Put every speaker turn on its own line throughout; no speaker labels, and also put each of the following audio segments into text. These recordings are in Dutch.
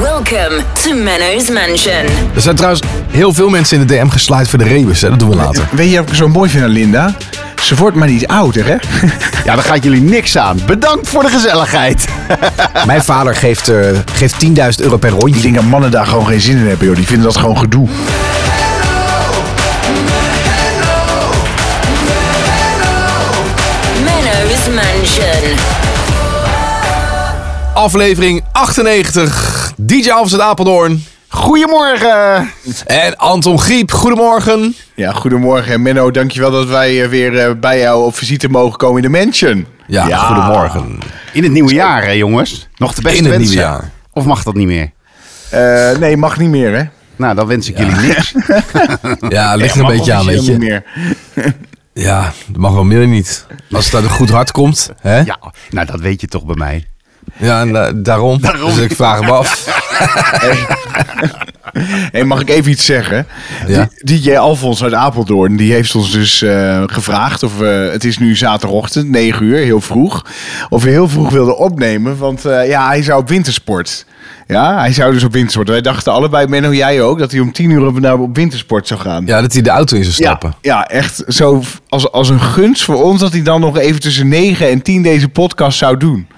Welcome to Menno's Mansion.
Er zijn trouwens heel veel mensen in de DM geslaaid voor de rebus. Hè? Dat doen we later.
Weet je wat ik zo mooi vind aan Linda? Ze wordt maar niet ouder, hè?
Ja, daar gaat jullie niks aan. Bedankt voor de gezelligheid.
Mijn vader geeft, eh, geeft 10.000 euro per
Ik
rondje.
denk dat mannen daar gewoon geen zin in hebben, joh. Die vinden dat gewoon gedoe.
Menno's Mansion.
Aflevering 98. DJ Alves uit Apeldoorn.
Goedemorgen.
En Anton Griep, goedemorgen.
Ja, goedemorgen. En Menno, dankjewel dat wij eh, weer eh, bij jou op visite mogen komen in de mansion.
Ja, goedemorgen.
In het nieuwe jaar, hè, jongens. Nog de beste
In het
wensen.
nieuwe jaar.
Of mag dat niet meer?
Eh, nee, mag niet meer, hè?
Nou, dan wens ik jullie niks.
Ja, ligt er
Mag
een beetje aan,
officieel
weet je.
Niet meer.
Ja, dat mag wel meer niet. Als het uit een goed hart komt. Hè? Ja,
Ja, nou, dat weet je toch bij mij.
en, eh, daarom. Dus ik vraag me af.
Hey, mag ik even iets zeggen?
Ja.
Die- DJ Alfons uit Apeldoorn die heeft ons dus eh, gevraagd of we, het is nu zaterdagochtend, 9 uur, heel vroeg, of we heel vroeg wilden opnemen, want eh, ja, hij zou op wintersport. Ja, hij zou dus op wintersport. Wij dachten allebei, Menno, jij ook, dat hij om 10 uur op, naar, op wintersport zou gaan.
Ja, dat hij de auto in zou stappen.
Ja, ja, echt zo v- als, als een gunst voor ons dat hij dan nog even tussen 9 en 10 deze podcast zou doen.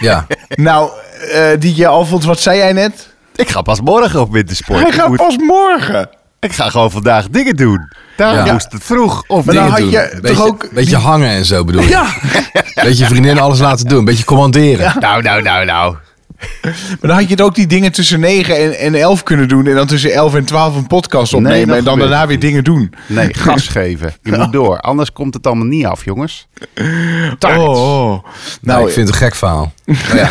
Ja.
nou, eh DJ Alfons, wat zei jij net?
Ik ga pas morgen op wintersport.
Hij
Ik
gaat
moet-
pas morgen.
Ik ga gewoon vandaag dingen doen. Daarom
Ja.
moest het vroeg. Of
Maar dan
dingen
had
doen.
je toch
Beetje,
ook-
beetje hangen en zo bedoel je.
Ja.
Beetje vriendin alles laten doen. Beetje commanderen.
Nou, nou, nou, nou.
Maar dan had je het ook die dingen tussen 9 en, en 11 kunnen doen. En dan tussen 11 en 12 een podcast opnemen.
dat
en dan
gebeurt
daarna weer dingen doen.
Nee, gas geven. Je moet door. Anders komt het allemaal niet af, jongens. Tarts.
oh.
Nou,
Nou,
ik vind het een gek verhaal. Maar ja.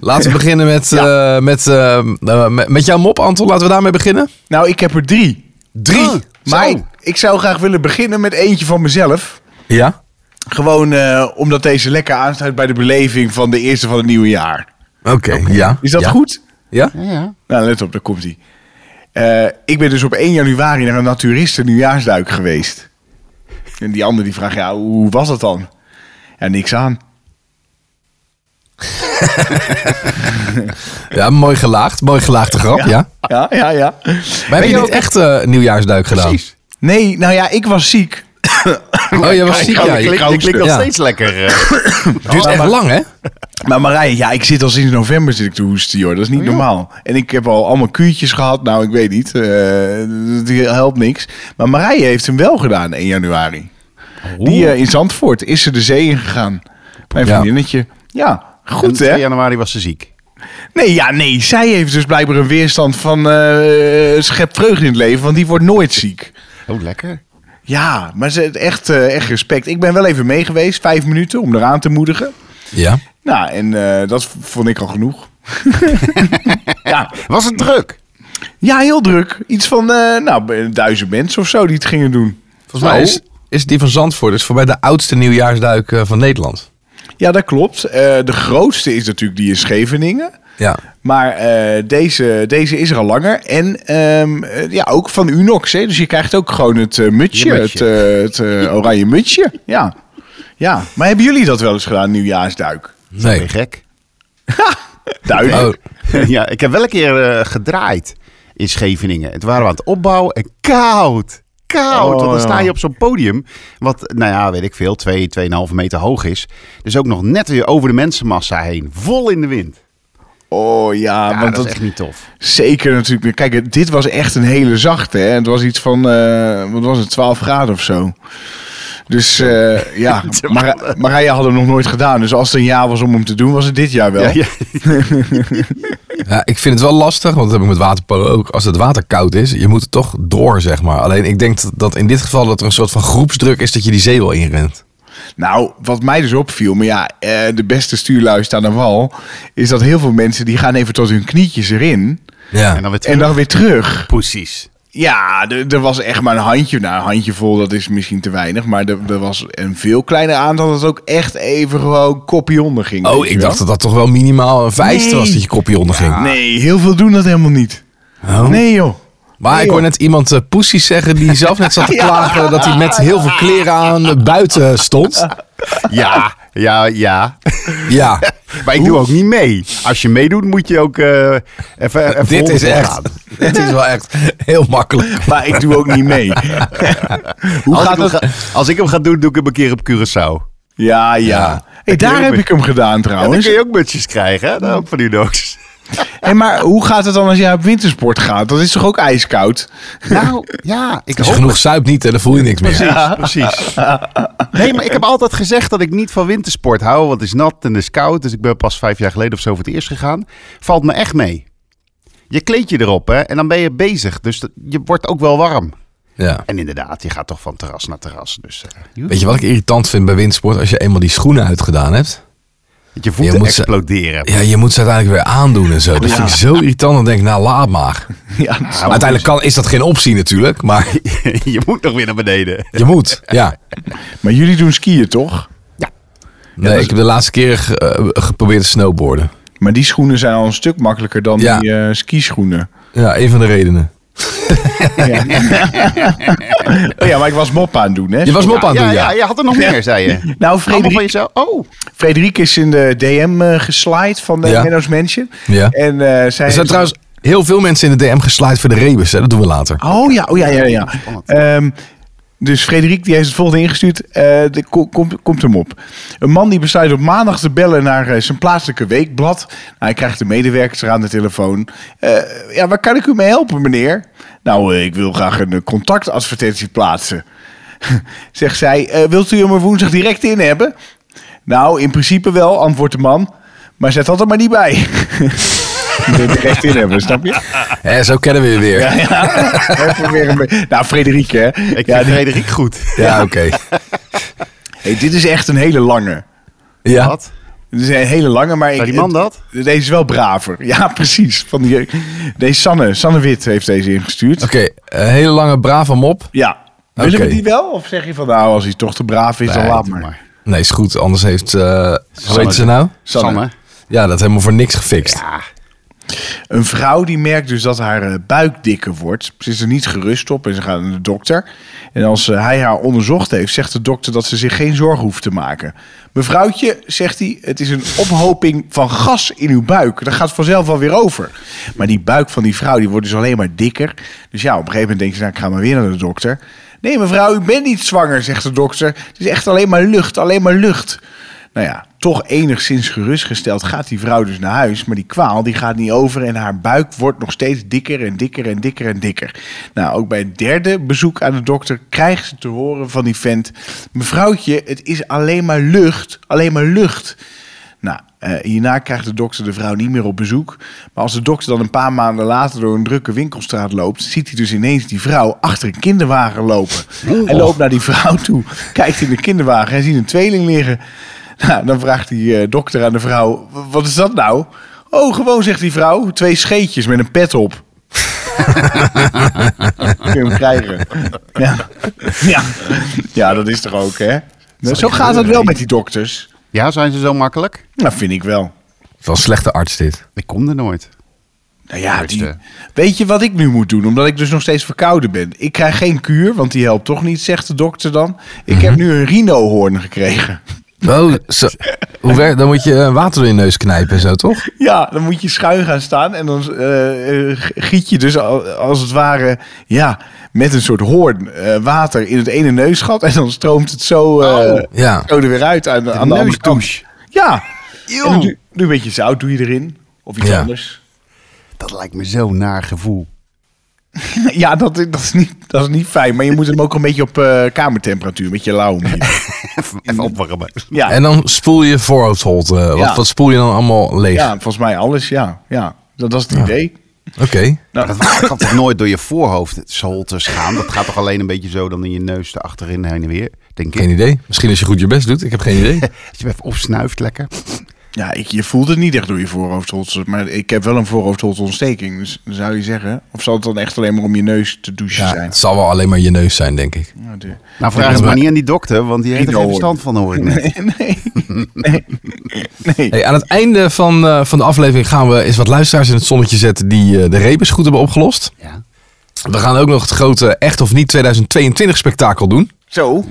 Laten we beginnen met, eh, met, eh, eh, met, met jouw mop, Anton. Laten we daarmee beginnen.
nou, ik heb er drie.
Drie.
Maar ik, ik zou graag willen beginnen met eentje van mezelf.
Ja?
Gewoon eh, omdat deze lekker aansluit bij de beleving van de eerste van het nieuwe jaar.
Oké. Ja.
Is dat
Ja.
goed?
Ja?
Ja, ja.
Nou, let op, daar komt hij. ik ben dus op 1 januari naar een naturisten nieuwjaarsduik geweest. En die ander die vraagt, ja, hoe was dat dan? Ja, niks aan.
Ja, mooi gelaagd. Mooi gelaagde grap, ja.
Ja, ja, ja.
Maar heb je niet echt eh, nieuwjaarsduik gedaan?
Precies.
Nee, nou ja, ik was ziek.
Oh, jij was ziek,
Oh,
ja.
dat
Je
klinkt, dat klinkt nog
Ja.
steeds lekker. eh.
duurt echt lang, hè?
Maar Marije, ja, ik zit al sinds november zit ik te hoesten, joh. Dat
Oh,
is niet normaal. En ik heb al allemaal kuurtjes gehad. Nou, ik weet niet. Eh die helpt niks. Maar Marije heeft hem wel gedaan 1 januari. Die eh, in Zandvoort is ze de zee ingegaan. Mijn
Ja.
vriendinnetje. Ja,
En
goed
2
hè?
januari was ze ziek.
Nee, ja, nee. Zij heeft dus blijkbaar een weerstand van eh schep vreugde in het leven. Want die wordt nooit ziek.
Oh, lekker.
Ja, maar ze, echt, eh, echt respect. Ik ben wel even mee geweest. Vijf minuten om eraan te moedigen.
Ja.
Nou, en eh, dat vond ik al genoeg. ja.
Was het druk?
ja, heel druk. Iets van eh, nou, duizend mensen of zo die het gingen doen.
Volgens mij is, is die van Zandvoort dus voorbij de oudste nieuwjaarsduik eh, van Nederland.
Ja, dat klopt. Eh, de grootste is natuurlijk die in Scheveningen.
Ja.
Maar eh, deze, deze is er al langer. En ehm, eh, ja, ook van Unox. Hè? Dus je krijgt ook gewoon het eh, mutsje.
Je
Het,
mutsje.
eh, het eh, oranje mutsje. Ja. ja. Maar hebben jullie dat wel eens gedaan, nieuwjaarsduik?
Ben je
Nee.
gek?
Duik?
Oh,
ja, ik heb wel een keer eh, gedraaid in Scheveningen. Het waren we aan het opbouwen en koud. Koud, want
Oh,
dan sta
ja.
je op zo'n podium wat, nou ja, weet ik veel, 2, 2,5 meter hoog is. Dus ook nog net weer over de mensenmassa heen. Vol in de wind.
Oh ja, want
Ja, dat
dat,
is echt niet tof.
Zeker natuurlijk. Kijk, het- dit was echt een hele zachte. Hè? Het was iets van, eh, wat was het, 12 graden of zo. Dus eh, ja, Mar Marije had hem nog nooit gedaan. Dus als het een jaar was om hem te doen, was het dit jaar wel.
Ja, ja.
Ja, ik vind het wel lastig, want dat heb ik met waterpolo ook. Als het water koud is, je moet er toch door, zeg maar. Alleen ik denk dat- dat in dit geval dat er een soort van groepsdruk is dat je die zee wel inrent.
Nou, wat mij dus opviel, maar ja, eh, de beste stuurluist aan de wal... is dat heel veel mensen die gaan even tot hun knietjes erin...
Ja.
En dan weer
en dan weer terug.
Precies.
Ja, er er was echt maar een handje. Nou, een handjevol, dat is misschien te weinig. Maar er er was een veel kleiner aantal dat ook echt even gewoon kopje onder ging.
Oh,
weet je
ik dacht dat
wel.
dat toch wel minimaal een vijfste
Nee.
was dat je kopje onderging.
Nee, heel veel doen dat helemaal niet.
Oh.
Nee joh.
Maar ik hoor net iemand eh poesies zeggen die zelf net zat te klagen dat hij met heel veel kleren aan eh, buiten stond.
Ja, Ja, ja.
Ja.
Maar ik doe ook niet mee. Als je meedoet, moet je ook eh, even, even
Dit is
onderdoor
echt.
gaan.
Dit is wel echt heel makkelijk.
Maar ik doe ook niet mee. Hoe
Oh,
Als,
gaat
ik hem
dat?
ga- als ik hem ga doen, doe ik hem een keer op Curaçao.
Ja, ja.
Ja.
Hey, daar heb ik hem gedaan
En dan
trouwens.
kun je ook mutsjes krijgen, hè? Dan ook van die doos.
Hey, maar hoe gaat het dan als jij op wintersport gaat? Dat is toch ook ijskoud?
Nou, ja, ik
Als je genoeg zuipt niet, hè, dan voel je niks meer.
Precies, precies. Nee, maar ik heb altijd gezegd dat ik niet van wintersport hou, want het is nat en het is koud. Dus ik ben pas vijf jaar geleden of zo voor het eerst gegaan. Valt me echt mee. Je kleed je erop hè, en dan ben je bezig. Dus dat- je wordt ook wel warm.
Ja.
En inderdaad, je gaat toch van terras naar terras. Dus eh,
Weet je wat ik irritant vind bij windsport? Als je eenmaal die schoenen uitgedaan hebt.
dat je voeten
Je moet ze-
exploderen.
Ja, je moet ze uiteindelijk weer aandoen en zo. Dat vind ik zo irritant. Dan denk ik, nou laat maar.
Ja, dat snap ik.
Uiteindelijk kan, is dat geen optie natuurlijk. Maar
je moet nog weer naar beneden.
je moet. Ja.
Maar jullie doen skiën toch?
Nee, ik heb de laatste keer ge- eh, geprobeerd te snowboarden.
Maar die schoenen zijn al een stuk makkelijker dan
Ja.
die eh, skischoenen.
Ja, een van de redenen.
Ja. oh ja, maar ik was mop aan het doen, hè?
Je was mop aan het
Ah, ja,
doen,
ja,
ja.
je had er nog meer, zei je.
Nou,
Allemaal van
Frederik,
jezelf. Oh,
Frederik is in de DM eh geslaaid van de
Ja.
Menno's Mansion.
Ja.
En eh, zij
Er zijn
heeft-
trouwens heel veel mensen in de DM gesluit voor de rebus. Hè? Dat doen we later.
Oh ja, oh ja, ja, ja.
Spannend.
Ehm, dus Frederik die heeft het volgende ingestuurd. Eh, de, ko- komt- komt hem op. Een man die besluit op maandag te bellen naar eh, zijn plaatselijke weekblad. Nou, hij krijgt de medewerkers aan de telefoon. Eh, ja, waar kan ik u mee helpen, meneer? Nou, eh, ik wil graag een eh, contactadvertentie plaatsen. Zegt zij, eh, wilt u hem er woensdag direct in hebben? Nou, in principe wel, antwoordt de man. Maar zet dat er maar niet bij. Je wilt er Direct in hebben, snap je?
Hè, zo kennen we je weer. Ja,
Even weer een be- nou, Frederik, hè?
ik
Ja,
vind
die-
Frederik goed.
oké.
hey, dit is echt een hele lange.
Ja.
Wat?
Dit is een hele lange, maar... ik-
Zou die man dat?
Deze is wel braver. Ja, precies. Van die, deze Sanne, Sanne Wit heeft deze ingestuurd.
Oké, een hele lange brave mop.
Ja. Willen
Oké.
we die wel? Of zeg je van, nou, als hij toch te braaf is, dan
Nee,
laat
doe
maar.
Nee, is goed. Anders heeft... eh hoe heet ze
de-
nou?
Sanne.
Sanne.
Ja, dat helemaal voor niks gefixt.
Ja,
Een vrouw die merkt dus dat haar eh, buik dikker wordt. Ze is er niet gerust op en ze gaat naar de dokter. En als eh, hij haar onderzocht heeft, zegt de dokter dat ze zich geen zorgen hoeft te maken. Mevrouwtje, zegt hij, het is een ophoping van gas in uw buik. Dat gaat vanzelf wel weer over. Maar die buik van die vrouw die wordt dus alleen maar dikker. Dus ja, op een gegeven moment denkt ze, nou, ik ga maar weer naar de dokter. Nee, mevrouw, u bent niet zwanger, zegt de dokter. Het is echt alleen maar lucht, alleen maar lucht. Nou ja, toch enigszins gerustgesteld gaat die vrouw dus naar huis. Maar die kwaal die gaat niet over en haar buik wordt nog steeds dikker en dikker en dikker en dikker. Nou, ook bij het derde bezoek aan de dokter krijgt ze te horen van die vent... Mevrouwtje, het is alleen maar lucht, alleen maar lucht. Nou, eh, hierna krijgt de dokter de vrouw niet meer op bezoek. Maar als de dokter dan een paar maanden later door een drukke winkelstraat loopt, ziet hij dus ineens die vrouw achter een kinderwagen lopen. Hij loopt naar die vrouw toe, kijkt in de kinderwagen en ziet een tweeling liggen. Nou, dan vraagt die eh, dokter aan de vrouw: "W- Wat is dat nou? Oh, gewoon, zegt die vrouw, twee scheetjes met een pet op. Kun je hem krijgen. Ja, ja. ja dat is toch ook, hè? Zo gaat dat wel met die dokters.
ja zijn ze zo makkelijk?
Nou, vind ik wel.
Wel een slechte arts dit.
Ik kom er nooit.
Nou ja,
Eerste.
die- weet je wat ik nu moet doen? Omdat ik dus nog steeds verkouden ben. Ik krijg geen kuur, want die helpt toch niet, zegt de dokter dan. Ik heb nu een rhinohoorn gekregen.
Oh, zo. Hoe werkt, dan moet je eh, water door je neus knijpen en zo, toch?
Ja, dan moet je schuin gaan staan en dan eh, eh, giet je dus al- als het ware ja, met een soort hoorn eh, water in het ene neusgat. En dan stroomt het zo, eh,
ja.
zo er weer uit aan, de- aan de andere kant.
Neusdouche.
Ja, en dan doe, doe een beetje zout doe je erin of iets
Ja.
anders.
Dat lijkt me zo'n naar gevoel.
Ja, dat, dat, is niet, dat is niet fijn, maar je moet hem ook een beetje op eh, kamertemperatuur met je lauw.
Even, even opwarmen.
Ja,
En dan spoel je voorhoofdholte. Wat,
Ja.
wat spoel je dan allemaal leeg?
Ja, volgens mij alles, ja. ja dat was het idee.
Oké.
Maar dat water kan toch nooit door je voorhoofd solters gaan? Dat gaat toch alleen een beetje zo dan in je neus erachterin heen en weer, denk ik.
Geen idee. Misschien als je goed je best doet. Ik heb geen idee.
Als je hem even opsnuift lekker. Nou,
Ja, ik, je voelt het niet echt door je voorhoofdholtes. Maar ik heb wel een voorhoofdholteontsteking. Dus dan zou je zeggen... Of zal het dan echt alleen maar om je neus te douchen
Ja,
zijn?
het zal wel alleen maar je neus zijn, denk ik.
Ja, de-
Nou, vraag het
maar-
maar niet aan die dokter, want die heeft er
Rino
geen
hoor.
verstand van, hoor ik net.
Nee, nee, nee.
Hey, aan het einde van, eh, van de aflevering gaan we eens wat luisteraars in het zonnetje zetten die eh, de rebus goed hebben opgelost.
Ja.
We gaan ook nog het grote Echt of Niet 2022 spektakel doen.
Zo.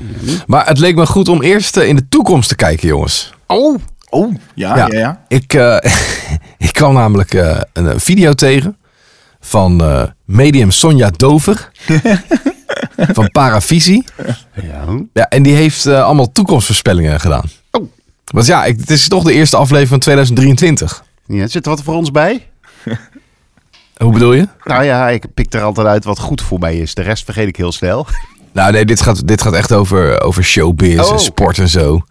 Maar het leek me goed om eerst eh, in de toekomst te kijken, jongens.
Oh. Oh,
Ah,
ja, ja, ja.
Ik, eh, ik kwam namelijk eh, een, een video tegen van eh, medium Sonja Dover. van Paravisie.
Ja.
Ja, en die heeft eh, allemaal toekomstvoorspellingen gedaan.
Oh.
Want ja, ik, het is toch de eerste aflevering van 2023.
ja. Zit er wat voor ons bij?
Hoe bedoel je?
Nou ja, ik pik er altijd uit wat goed voor mij is. De rest vergeet ik heel snel.
Nou nee, dit gaat, dit gaat echt over, over showbiz en
Oh.
sport en zo.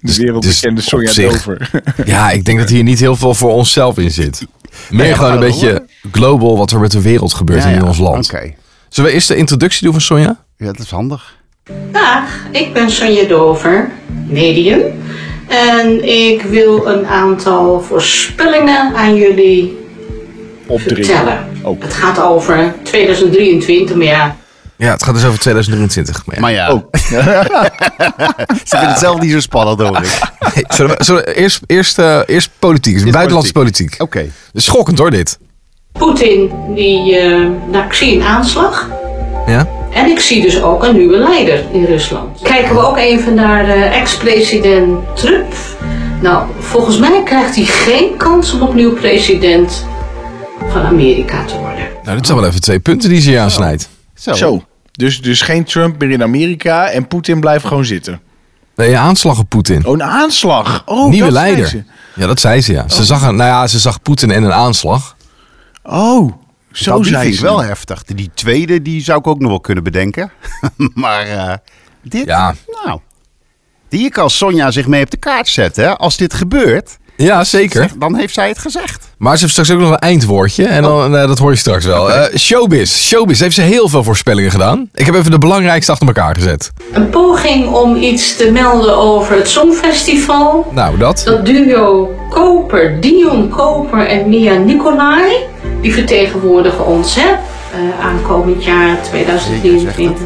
De wereldbekende
dus
Sonja
op zich-
Dover.
Ja, ik denk dat hier niet heel veel voor onszelf in zit. Meer
Nee,
gewoon een
maar-
beetje global wat er met de wereld gebeurt en in ons land.
Oké.
Zullen we eerst de introductie doen van Sonja?
Ja, dat is handig.
Dag, ik ben Sonja Dover, medium. En ik wil een aantal voorspellingen aan jullie vertellen.
Opdringen. Oh.
Het gaat over 2023, maar ja,
Ja, het gaat dus over 2023. Maar ja.
Maar ja, ze vinden het zelf niet zo spannend, hoor ik.
Hey, zullen we, zullen we eerst, eerst, eh, eerst politiek, buitenlandse politiek.
Oké.
Het is Schokkend hoor, dit.
Poetin, die, eh, nou, ik zie een aanslag.
Ja?
En ik zie dus ook een nieuwe leider in Rusland. Kijken we ook even naar eh, ex-president Trump. Nou, volgens mij krijgt hij geen kans om opnieuw president van Amerika te worden.
Nou, dit zijn wel even twee punten die ze hier aansnijdt.
Zo.
Zo. Dus, dus geen Trump meer in Amerika en Poetin blijft gewoon zitten.
Nee, E aanslag op Poetin.
Oh, een aanslag. Oh,
Nieuwe
dat zei
leider.
ze.
Ja, dat zei ze ja. Ze zag, een, nou ja, ze zag Poetin en een aanslag.
Oh, zo
Nou, die
zei
vind ik
ze.
wel heftig. Die tweede, die zou ik ook nog wel kunnen bedenken. maar eh, dit,
Ja.
nou. Die kan Sonja zich mee op de kaart zetten. hè. Als dit gebeurt,
Ja, zeker.
dan heeft zij het gezegd.
Maar ze heeft straks ook nog een eindwoordje. En dan, eh, dat hoor je straks wel. Eh, showbiz. Showbiz heeft ze heel veel voorspellingen gedaan. Ik heb even de belangrijkste achter elkaar gezet.
Een poging om iets te melden over het Songfestival.
Nou, dat.
Dat duo Koper, Dion Koper en Mia Nicolai, die vertegenwoordigen ons hè, eh, aankomend jaar 2023.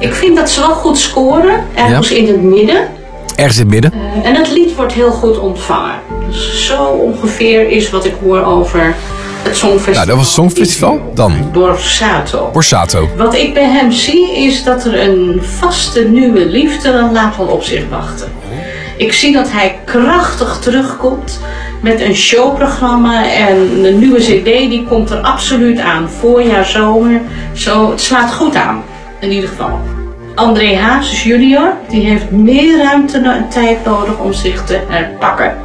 Ik vind dat ze wel goed scoren, ergens
Ja.
in het midden.
Ergens in het midden.
Eh, En het lied wordt heel goed ontvangen. Dus zo ongeveer is wat ik hoor over het Songfestival.
Nou, dat was het Songfestival. Dan.
Door Sato.
Borsato.
Wat ik bij hem zie is dat er een vaste nieuwe liefde laat wel op zich wachten. Ik zie dat hij krachtig terugkomt met een showprogramma en een nieuwe cd die komt er absoluut aan. Voorjaar, zomer, zo, het slaat goed aan in ieder geval. André Hazes junior, die heeft meer ruimte no- en tijd nodig om zich te herpakken.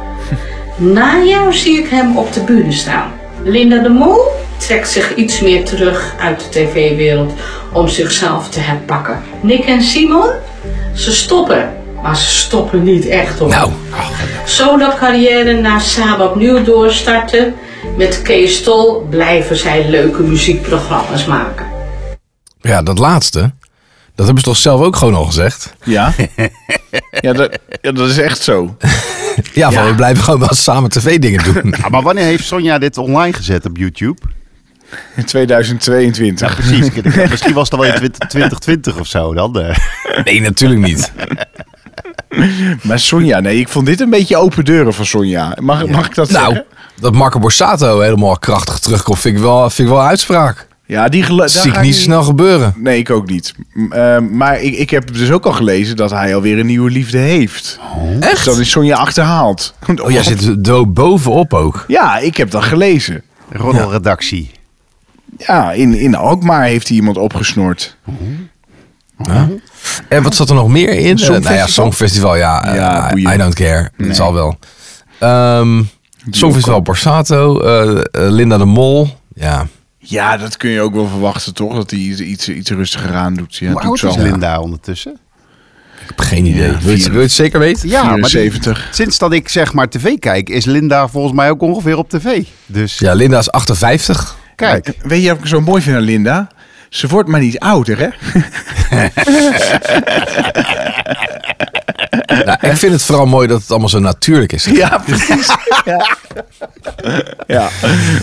Na jou zie ik hem op de bühne staan. Linda de Mol trekt zich iets meer terug uit de tv-wereld om zichzelf te herpakken. Nick en Simon, ze stoppen. Maar ze stoppen niet echt hoor.
Nou.
Zo dat carrière na Saba opnieuw doorstarten. Met Kees Tol blijven zij leuke muziekprogramma's maken.
Ja, dat laatste. Dat hebben ze toch zelf ook gewoon al gezegd?
Ja. ja, dat, ja, dat is echt zo.
Ja, van we blijven gewoon wel samen tv-dingen doen.
Ja, Ah, maar wanneer heeft Sonja dit online gezet op YouTube?
In 2022.
Precies. ik- ik- Misschien was het wel in 20 2020 of zo dan. eh.
Nee, natuurlijk niet.
Maar Sonja, nee, ik vond dit een beetje open deuren van Sonja. Mag, mag ik dat
Nou,
zeggen?
dat Marco Borsato helemaal krachtig terugkomt, vind ik wel, vind ik wel een uitspraak.
Ja, die gelu-
Dat
daar
zie
ga
ik niet zo snel gebeuren.
Nee, ik ook niet. M- eh, maar ik, ik heb dus ook al gelezen dat hij alweer een nieuwe liefde heeft. Dus
Echt?
dan is Sonja achterhaald.
Oh, jij zit er do- bovenop ook.
Ja, ik heb dat gelezen.
Roddelredactie.
Ja, in, in Alkmaar heeft hij iemand opgesnort.
En wat zat er nog meer in? Eh, nou ja,
Songfestival?
Songfestival, ja. eh,
Ja, boeien.
I don't care. Het zal wel. Ehm Songfestival Borsato, eh, eh, Linda de Mol. Ja,
Ja, dat kun je ook wel verwachten, toch? Dat hij iets, iets, iets rustiger aan doet. Ja,
Hoe
doet
oud
zo.
is Linda ondertussen?
ik heb geen idee. wil, je het,
vier-
wil je het zeker weten?
Ja, maar die-
74.
sinds dat ik zeg maar tv kijk, is Linda volgens mij ook ongeveer op tv. Dus
Ja, Linda is 58.
kijk.
eh, Weet je wat ik zo mooi vind aan Linda? Ze wordt maar niet ouder, hè?
Nou, ik vind het vooral mooi dat het allemaal zo natuurlijk is.
Ja, precies. ja. ja.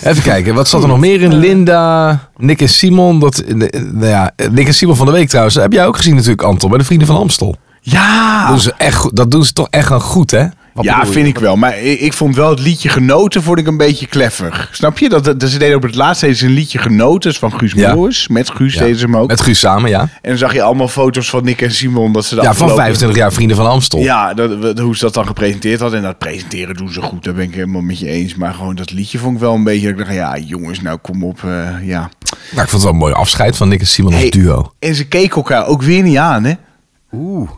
Even kijken, wat zat er nog meer in? Linda, Nick en Simon. Dat, eh, nou ja, Nick en Simon van de week trouwens. Dat heb jij ook gezien natuurlijk, Anton, bij de Vrienden van Amstel.
Ja.
Doen ze echt, goed- dat doen ze toch echt gewoon goed, hè?
Wat
ja,
bedoel je?
vind ik wel. Maar ik, ik vond wel het liedje Genoten vond ik een beetje kleffig. Snap je? Dat, dat, dat ze deden op het laatst deden ze een liedje Genoten is van Guus
Ja.
Meeuwis. Met Guus
Ja.
deden ze hem ook.
Met Guus samen, ja.
En dan zag je allemaal foto's van Nick en Simon. Dat ze de
Ja, van
afgelopen-
25 jaar Vrienden van Amstel.
Ja, dat, we- hoe ze dat dan gepresenteerd hadden. En dat presenteren doen ze goed. Daar ben ik helemaal met je eens. Maar gewoon dat liedje vond ik wel een beetje... dat Ik dacht, ja jongens, nou kom op. eh, ja.
Nou, ik vond het wel een mooi afscheid van Nick en Simon als
Hey,
duo.
En ze keken elkaar ook weer niet aan, hè?
Oeh,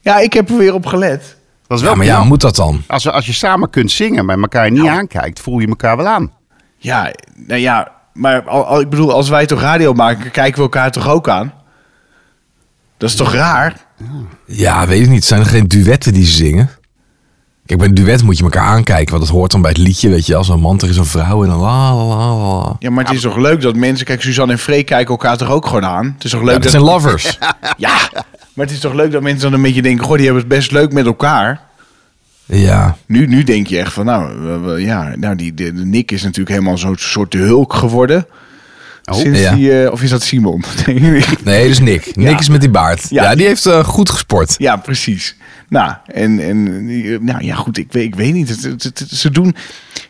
Ja, ik heb er weer op gelet.
dat is wel
Ja, maar ja,
knap.
moet dat dan?
Als, we- als je samen kunt zingen, maar elkaar niet aankijkt, voel je elkaar wel aan.
Ja, nou ja. Maar al, al- ik bedoel, als wij toch radio maken... kijken we elkaar toch ook aan? Dat is toch raar?
Ja, weet ik niet. Zijn er geen duetten die ze zingen? Kijk, bij een duet moet je elkaar aankijken, want dat hoort dan bij het liedje, weet je. Als een man tegen zo'n vrouw en dan la la la la. Ja,
Ja, maar het is toch leuk dat mensen... Kijk, Suzanne en Freek kijken elkaar toch ook gewoon aan? Het is toch leuk
dat
dat...
zijn lovers.
Ja, maar het is toch leuk dat mensen dan een beetje denken... Goh, die hebben het best leuk met elkaar.
ja.
Nu, nu denk je echt van, nou, we- we- ja, nou die, de, de Nick is natuurlijk helemaal zo'n soort de hulk geworden. Sinds
Oh, Ja.
die, eh, of is dat Simon? Denk ik.
Nee, dus Nick. Nick is met die baard.
Ja.
Ja, die heeft eh, goed gesport.
ja, precies. Nou, en, en die, eh, nou ja, goed, ik weet, ik weet niet. Het- het- het- ze doen,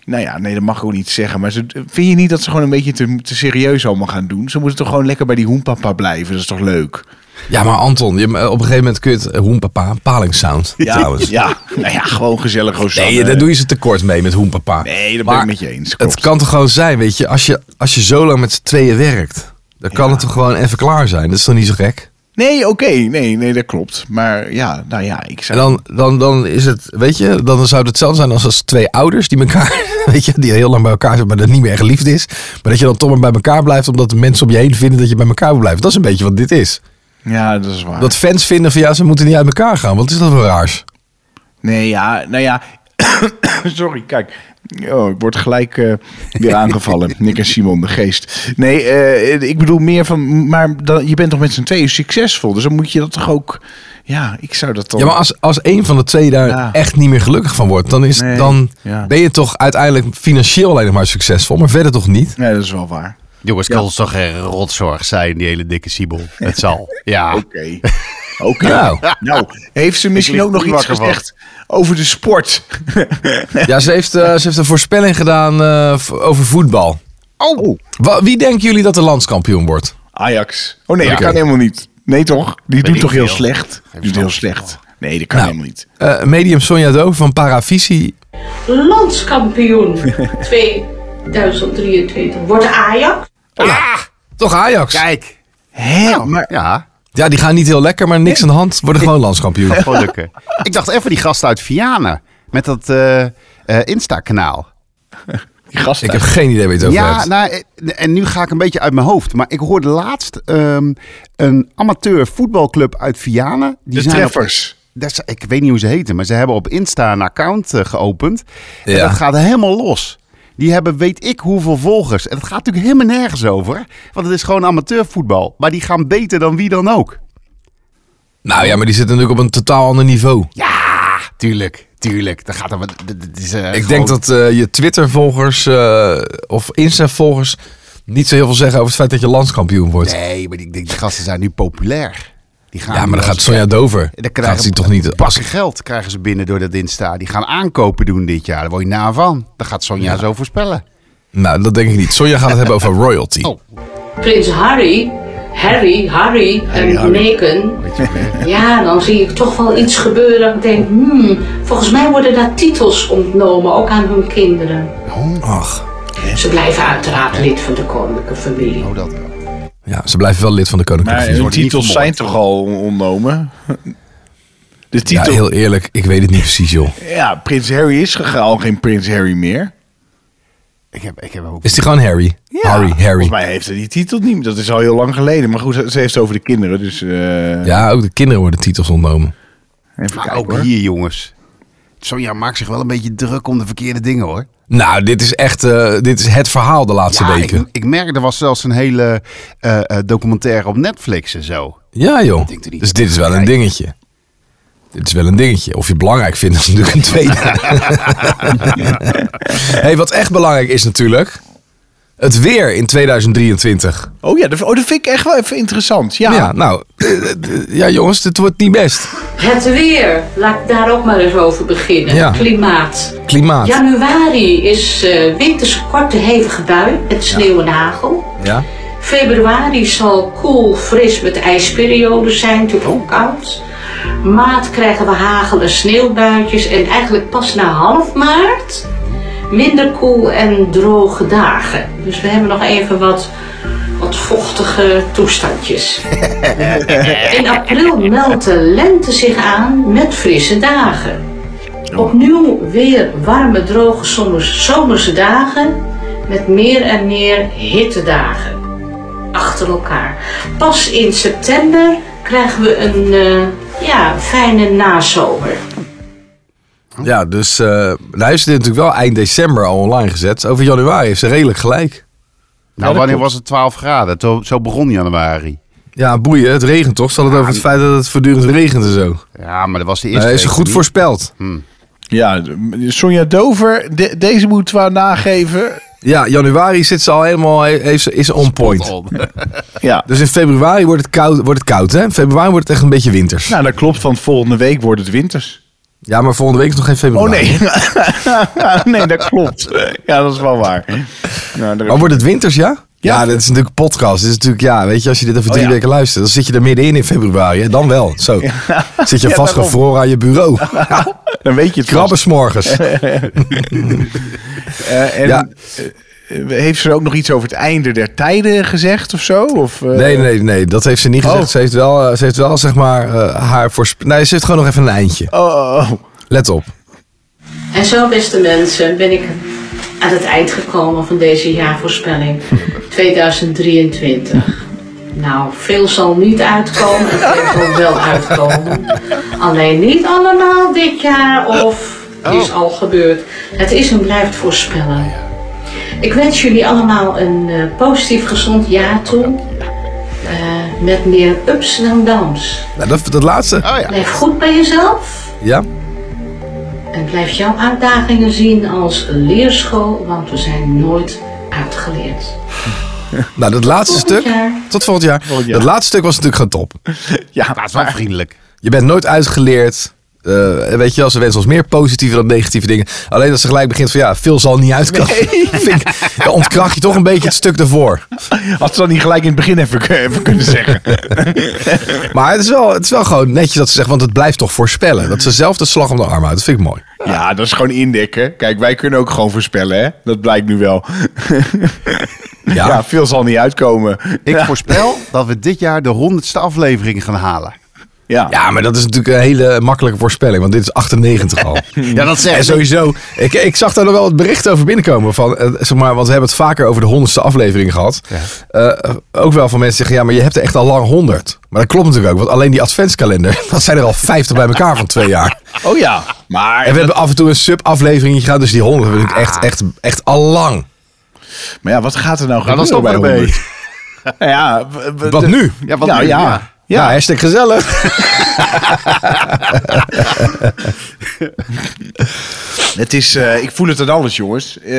nou ja, nee, dat mag ik ook niet zeggen. Maar ze, vind je niet dat ze gewoon een beetje te, te serieus allemaal gaan doen? Ze moeten toch gewoon lekker bij die hoenpapa blijven? Dat is toch leuk?
Ja, maar Anton, je, op een gegeven moment kun je het eh, hoenpapa, palingsound trouwens.
Ja, nou ja, gewoon gezellig Rosanne.
Nee, eh, daar doe je ze tekort mee met hoenpapa.
Nee, dat ben
Maar
ik met je eens, klopt.
Het kan toch gewoon zijn, weet je, als je, als je zo lang met z'n tweeën werkt, dan kan het toch gewoon even klaar zijn. Dat is toch niet zo gek?
Nee, oké, nee, nee, dat klopt. Maar ja, nou ja, ik
En
zou...
dan, dan, dan is het, weet je, dan zou het hetzelfde zijn als als twee ouders die elkaar, weet je, die heel lang bij elkaar zijn, maar dat niet meer echt liefde is. Maar dat je dan toch maar bij elkaar blijft, omdat de mensen om je heen vinden dat je bij elkaar blijft. Dat is een beetje wat dit is.
Ja, dat is waar.
Dat fans vinden van ja, ze moeten niet uit elkaar gaan. Wat is dat voor raars?
Nee, ja, nou ja. Sorry, kijk. Oh, ik word gelijk eh, weer aangevallen. Nick en Simon, de geest. Nee, eh, ik bedoel meer van. Maar dan, je bent toch met z'n tweeën succesvol. Dus dan moet je dat toch ook. Ja, ik zou dat dan.
Ja, maar als, als een van de twee daar
Ja.
echt niet meer gelukkig van wordt, dan, is,
Nee,
dan
ja.
ben je toch uiteindelijk financieel alleen nog maar succesvol, maar verder toch niet?
Nee, dat is wel waar.
Jongens, kan ons toch geen rotzorg zijn, die hele dikke Sibel. Het zal. Ja.
Oké. Oké.
Ah. Nou.
Nou, heeft ze misschien
lig
ook nog
niet
iets
wakker van.
gezegd over de sport?
Ja, ze heeft, eh, ze heeft een voorspelling gedaan eh, v- over voetbal.
Oh.
Wa- Wie denken jullie dat de landskampioen wordt?
Ajax. Oh nee,
Ja.
dat kan
Oké.
helemaal niet. Nee, toch? Die doet
ik
toch heel
veel.
slecht? Die doet heel
verstand.
slecht. Nee, dat kan
Nou.
helemaal niet.
Eh, medium Sonja Doof van Paravisie.
Landskampioen 2023 wordt Ajax.
Toch Ajax?
Kijk.
Hé, maar
Ja,
Ja, die gaan niet heel lekker, maar niks aan de hand. Worden gewoon landskampioen.
gaat gewoon lukken. Ik dacht even die gast uit Vianen. Met dat eh, eh, Insta-kanaal.
die gasten.
Ik heb geen idee waar je het over
Ja,
hebt.
nou, eh, en nu ga ik een beetje uit mijn hoofd. Maar ik hoorde laatst ehm, een amateur voetbalclub uit Vianen. Die
De
zijn op-
treffers.
dat is- ik weet niet hoe ze heten, maar ze hebben op Insta een account eh, geopend. En
Ja.
dat gaat helemaal los. Die hebben weet ik hoeveel volgers. En dat gaat natuurlijk helemaal nergens over. Want het is gewoon amateurvoetbal. Maar die gaan beter dan wie dan ook.
Nou ja, maar die zitten natuurlijk op een totaal ander niveau.
Ja, tuurlijk. Tuurlijk. Dat gaat er, wat- dat- dat is, eh,
Ik
gewoon-
denk dat eh, je Twitter-volgers eh, of Insta-volgers niet zo heel veel zeggen over het feit dat je landskampioen wordt.
Nee, maar ik denk die gasten zijn nu populair. Die gaan
ja,
nu
maar dan
als-
gaat Sonja Dover.
Dan krijgen
Gaat ze toch niet...
Bakken geld krijgen ze binnen door dat Insta. Die gaan aankopen doen dit jaar. Daar word je na van. Dat gaat Sonja zo voorspellen.
Nou, dat denk ik niet. Sonja gaat het hebben over royalty.
Oh.
Prins Harry, Harry, Harry en Meghan. Ja, dan zie ik toch wel iets gebeuren. Ik denk, hmm, volgens mij worden daar titels ontnomen, ook aan hun kinderen.
Oh.
Ach.
Ze blijven uiteraard lid van de koninklijke familie.
Oh, dat wel.
Ja, ze blijven wel lid van de Koninklijke
Maar
Familie.
hun
wordt niet
titels zijn
vermoord.
toch al ontnomen?
Ja,
De titel... Ja,
heel eerlijk, ik weet het niet precies, joh.
Prins Harry is ge- al geen Prins Harry meer.
Ik heb, ik heb ook...
Is die gewoon Harry? Harry, Harry.
Volgens mij heeft hij die titel niet. Dat is al heel lang geleden. Maar goed, ze ze heeft het over de kinderen. Dus eh,
Ja, ook de kinderen worden titels ontnomen.
even
Maar
kijken
ook
hoor.
hier, jongens. Sonja maakt zich wel een beetje druk om de verkeerde dingen, hoor.
Nou, dit is echt eh, dit is het verhaal de laatste weken.
ik, ik merk, er was zelfs een hele eh, eh, documentaire op Netflix en zo. Nou,
Ja, joh.
denk er niet
Dus
aan.
dit is wel een
Kijk.
dingetje. Dit is wel een dingetje. Of je het belangrijk vindt, dat is natuurlijk een tweede. hey, wat echt belangrijk is natuurlijk. Het weer in 2023.
Oh ja, dat, oh, dat vind ik echt wel even interessant. Ja.
Ja, nou. eh, eh, ja, jongens, dit wordt niet best.
Het weer, laat ik daar ook maar eens over beginnen.
Ja.
Klimaat.
Klimaat. Ja.
Januari is eh winters korte hevige bui met sneeuw en hagel. Februari zal koel, fris met ijsperiode zijn, natuurlijk ook koud. Maart krijgen we hagel en sneeuwbuitjes en eigenlijk pas na half maart minder koel en droge dagen. Dus we hebben nog even wat, wat vochtige toestandjes. In april meldt de lente zich aan met frisse dagen. Opnieuw weer warme, droge zomers, zomerse dagen met meer en meer hittedagen achter elkaar. Pas in september krijgen we een eh, ja, fijne nazomer.
Ja, dus eh hij heeft dit natuurlijk wel eind december al online gezet. Over januari heeft ze redelijk gelijk.
Nou, wanneer was het 12 graden? Zo, zo begon januari.
Ja, boeien, het regent toch? Zal het over het feit dat het voortdurend regent en zo?
Ja, maar dat was de
Hij
eerste.
heeft ze
week
goed
niet.
voorspeld.
Ja, Sonja Dover, de- deze moeten we haar nageven.
Ja, januari zit ze al helemaal, he- heeft ze, is ze on point.
Oh,
Ja.
Dus in februari wordt het koud, wordt het koud hè? In februari wordt het echt een beetje winters.
Nou, dat klopt, want volgende week wordt het winters.
Ja, maar volgende week is nog geen
Oh
februari.
nee. nee, dat klopt. Ja, dat is wel waar. Nou, daar-
Maar Oh, wordt het winters, ja?
Ja.
Ja, dat is natuurlijk podcast. Dit is natuurlijk, ja, weet je, als je dit over
Oh,
drie
ja.
weken luistert, dan zit je er middenin in februari. Hè? Dan wel. Zo. Zit je
Ja,
vastgevroren aan je bureau.
dan weet je het vast.
Krabben 's morgens.
Eh, en
Ja.
eh, heeft ze ook nog iets over het einde der tijden gezegd of zo? Of, eh,
Nee, nee, nee, dat heeft ze niet gezegd.
Oh.
Ze, heeft wel, eh, ze heeft wel, zeg maar, eh, haar voor. Nee, ze heeft gewoon nog even een eindje.
Oh, oh, oh.
Let op.
En zo, beste mensen, ben ik aan het eind gekomen van deze jaarvoorspelling 2023. Nou, veel zal niet uitkomen en veel zal wel uitkomen. Alleen niet allemaal dit jaar of het is al gebeurd. Het is en blijft voorspellen. Ik wens jullie allemaal een eh, positief, gezond jaar toe. Eh, met meer ups en downs.
Nou, dat, dat laatste.
Oh ja.
Blijf goed bij jezelf.
Ja.
En blijf jouw uitdagingen zien als leerschool, want we zijn nooit uitgeleerd.
Nou, dat laatste
Volgend
stuk.
jaar.
Tot volgend jaar.
jaar.
Dat laatste stuk was natuurlijk gewoon top.
Ja,
Dat is wel vriendelijk.
Je bent nooit uitgeleerd. Eh, weet je wel, ze wensen ons meer positieve dan negatieve dingen. Alleen dat ze gelijk begint van ja, veel zal niet uitkomen. Vind ik- dan ontkracht je toch een beetje het stuk daarvoor.
had ze dan niet gelijk in het begin even, even kunnen zeggen.
Maar het is, wel, het is wel gewoon netjes dat ze zegt, want het blijft toch voorspellen. Dat ze zelf de slag om de arm houdt. Dat vind ik mooi.
Ja, dat is gewoon indekken. Kijk, wij kunnen ook gewoon voorspellen, hè? Dat blijkt nu wel. Ja, veel zal niet uitkomen.
Ik
ja.
voorspel dat we dit jaar de honderdste aflevering gaan halen.
Ja.
Ja, maar dat is natuurlijk een hele makkelijke voorspelling, want dit is 98 al.
Ja, dat
En
zeggen ze.
sowieso, ik, ik zag daar nog wel wat berichten over binnenkomen. Van, eh, zeg maar, want we hebben het vaker over de honderdste aflevering gehad. Eh, ook wel van mensen die zeggen, ja, maar je hebt er echt al lang 100. Maar dat klopt natuurlijk ook, want alleen die adventskalender, dat zijn er al 50 bij elkaar van twee jaar.
Oh ja, maar,
En we hebben af en toe een sub-aflevering gehad, dus die 100 hebben we natuurlijk echt, echt, echt al lang.
maar ja, wat gaat er nou
Nou, dan
gebeuren bij
stoppen we ermee.
100? Nou ja, w- w-
Wat
de-
nu?
Ja, wat
nou
nu?
ja.
Ja.
Ja, hashtag gezellig.
Het is, eh, ik voel het aan alles, jongens. Eh,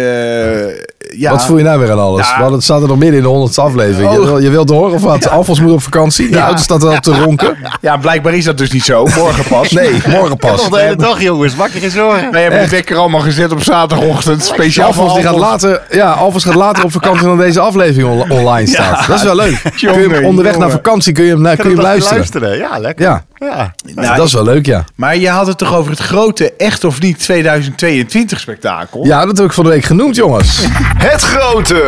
ja.
Wat voel je nou weer aan alles?
Ja.
Want het staat er nog midden in de honderdste aflevering. Je,
Oh.
wil, je wilt horen of wat? Alfons moet op vakantie. De auto staat al te ronken.
Ja, blijkbaar is dat dus niet zo. Morgen pas.
Nee, morgen pas.
Nog de hele dag, jongens. Wakker is hoor.
Wij hebben de wekker allemaal gezet op zaterdagochtend. Speciaal voor
Alfons die gaat
Alfons.
later, ja, Alfons gaat later op vakantie dan deze aflevering on- online staat. dat is wel leuk. Kun je hem
jongen,
onderweg
jongen.
naar vakantie kun je hem, naar- kun je hem luisteren.
Ja, lekker.
Ja.
ja.
Nou, dat is wel leuk, ja.
Maar je had het toch over het grote Echt of Niet 2022 spektakel?
Ja, dat heb ik van de week genoemd, jongens.
Het grote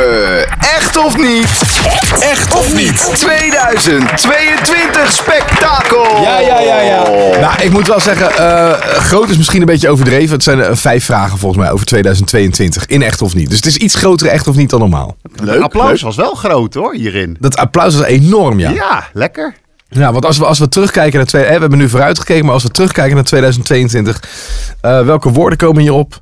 Echt of Niet. Echt of Niet. 2022 spektakel.
Nou, ik moet wel zeggen, eh, groot is misschien een beetje overdreven. Het zijn eh, vijf vragen volgens mij over 2022. In echt of niet. Dus het is iets groter echt of niet dan normaal.
Leuk, applaus was wel groot hoor, hierin.
Dat applaus was enorm, ja.
Ja,
Ja,
lekker.
want als we, als we terugkijken naar... Twee, hè, we hebben nu vooruit gekeken, maar als we terugkijken naar 2022... eh, welke woorden komen hierop?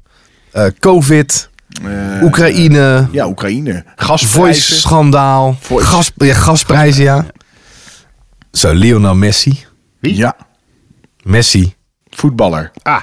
Eh Covid,
Eh,
Oekraïne,
Ja, Oekraïne. Gasprijzen.
Voice-schandaal.
Voice.
Gas, ja, gasprijzen, ja. Zo, Lionel Messi.
Ja,
Messi.
voetballer.
Ah,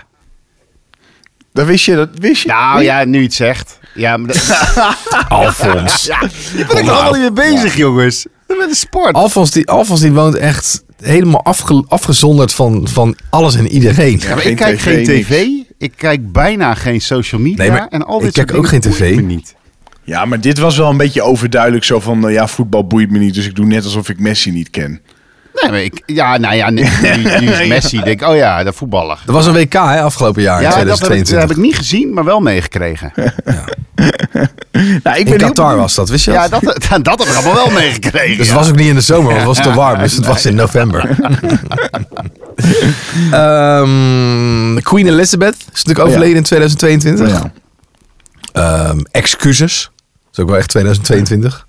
Dat wist je, dat wist je.
nou ja, nu iets zegt. Ja, maar dat...
Alfons.
ja, je bent er allemaal niet mee bezig, jongens. Dat is een sport.
Alfons, die, Alfons die woont echt helemaal afge- afgezonderd van, van alles en iedereen.
Ja, maar
geen
ik kijk
TV,
geen tv. Ik kijk bijna geen social media.
Nee, maar
en al
ik
dit
kijk
soort
ook
dingen
geen
boeit
tv.
me niet.
Ja, maar dit was wel een beetje overduidelijk zo van... nou ja, voetbal boeit me niet, dus ik doe net alsof ik Messi niet ken.
Nee, maar ik, ja, nou ja, nu, nu- nu is Messi. Denk, ik, oh ja, de voetballer.
Er was een WK hè, afgelopen jaar, in
Ja, dat heb, ik, dat
2022.
heb ik niet gezien, maar wel meegekregen.
Nou,
in
ik ben heel
Qatar
benieuwd.
was dat, wist je
Ja,
dat?
dat, dat, dat heb ik allemaal wel meegekregen.
Dus het was ook niet in de zomer, want het was te warm. Dus het was in november. Ehm, Queen Elizabeth is natuurlijk overleden in 2022.
Ja.
Ehm, excuses. Dat is ook wel echt 2022.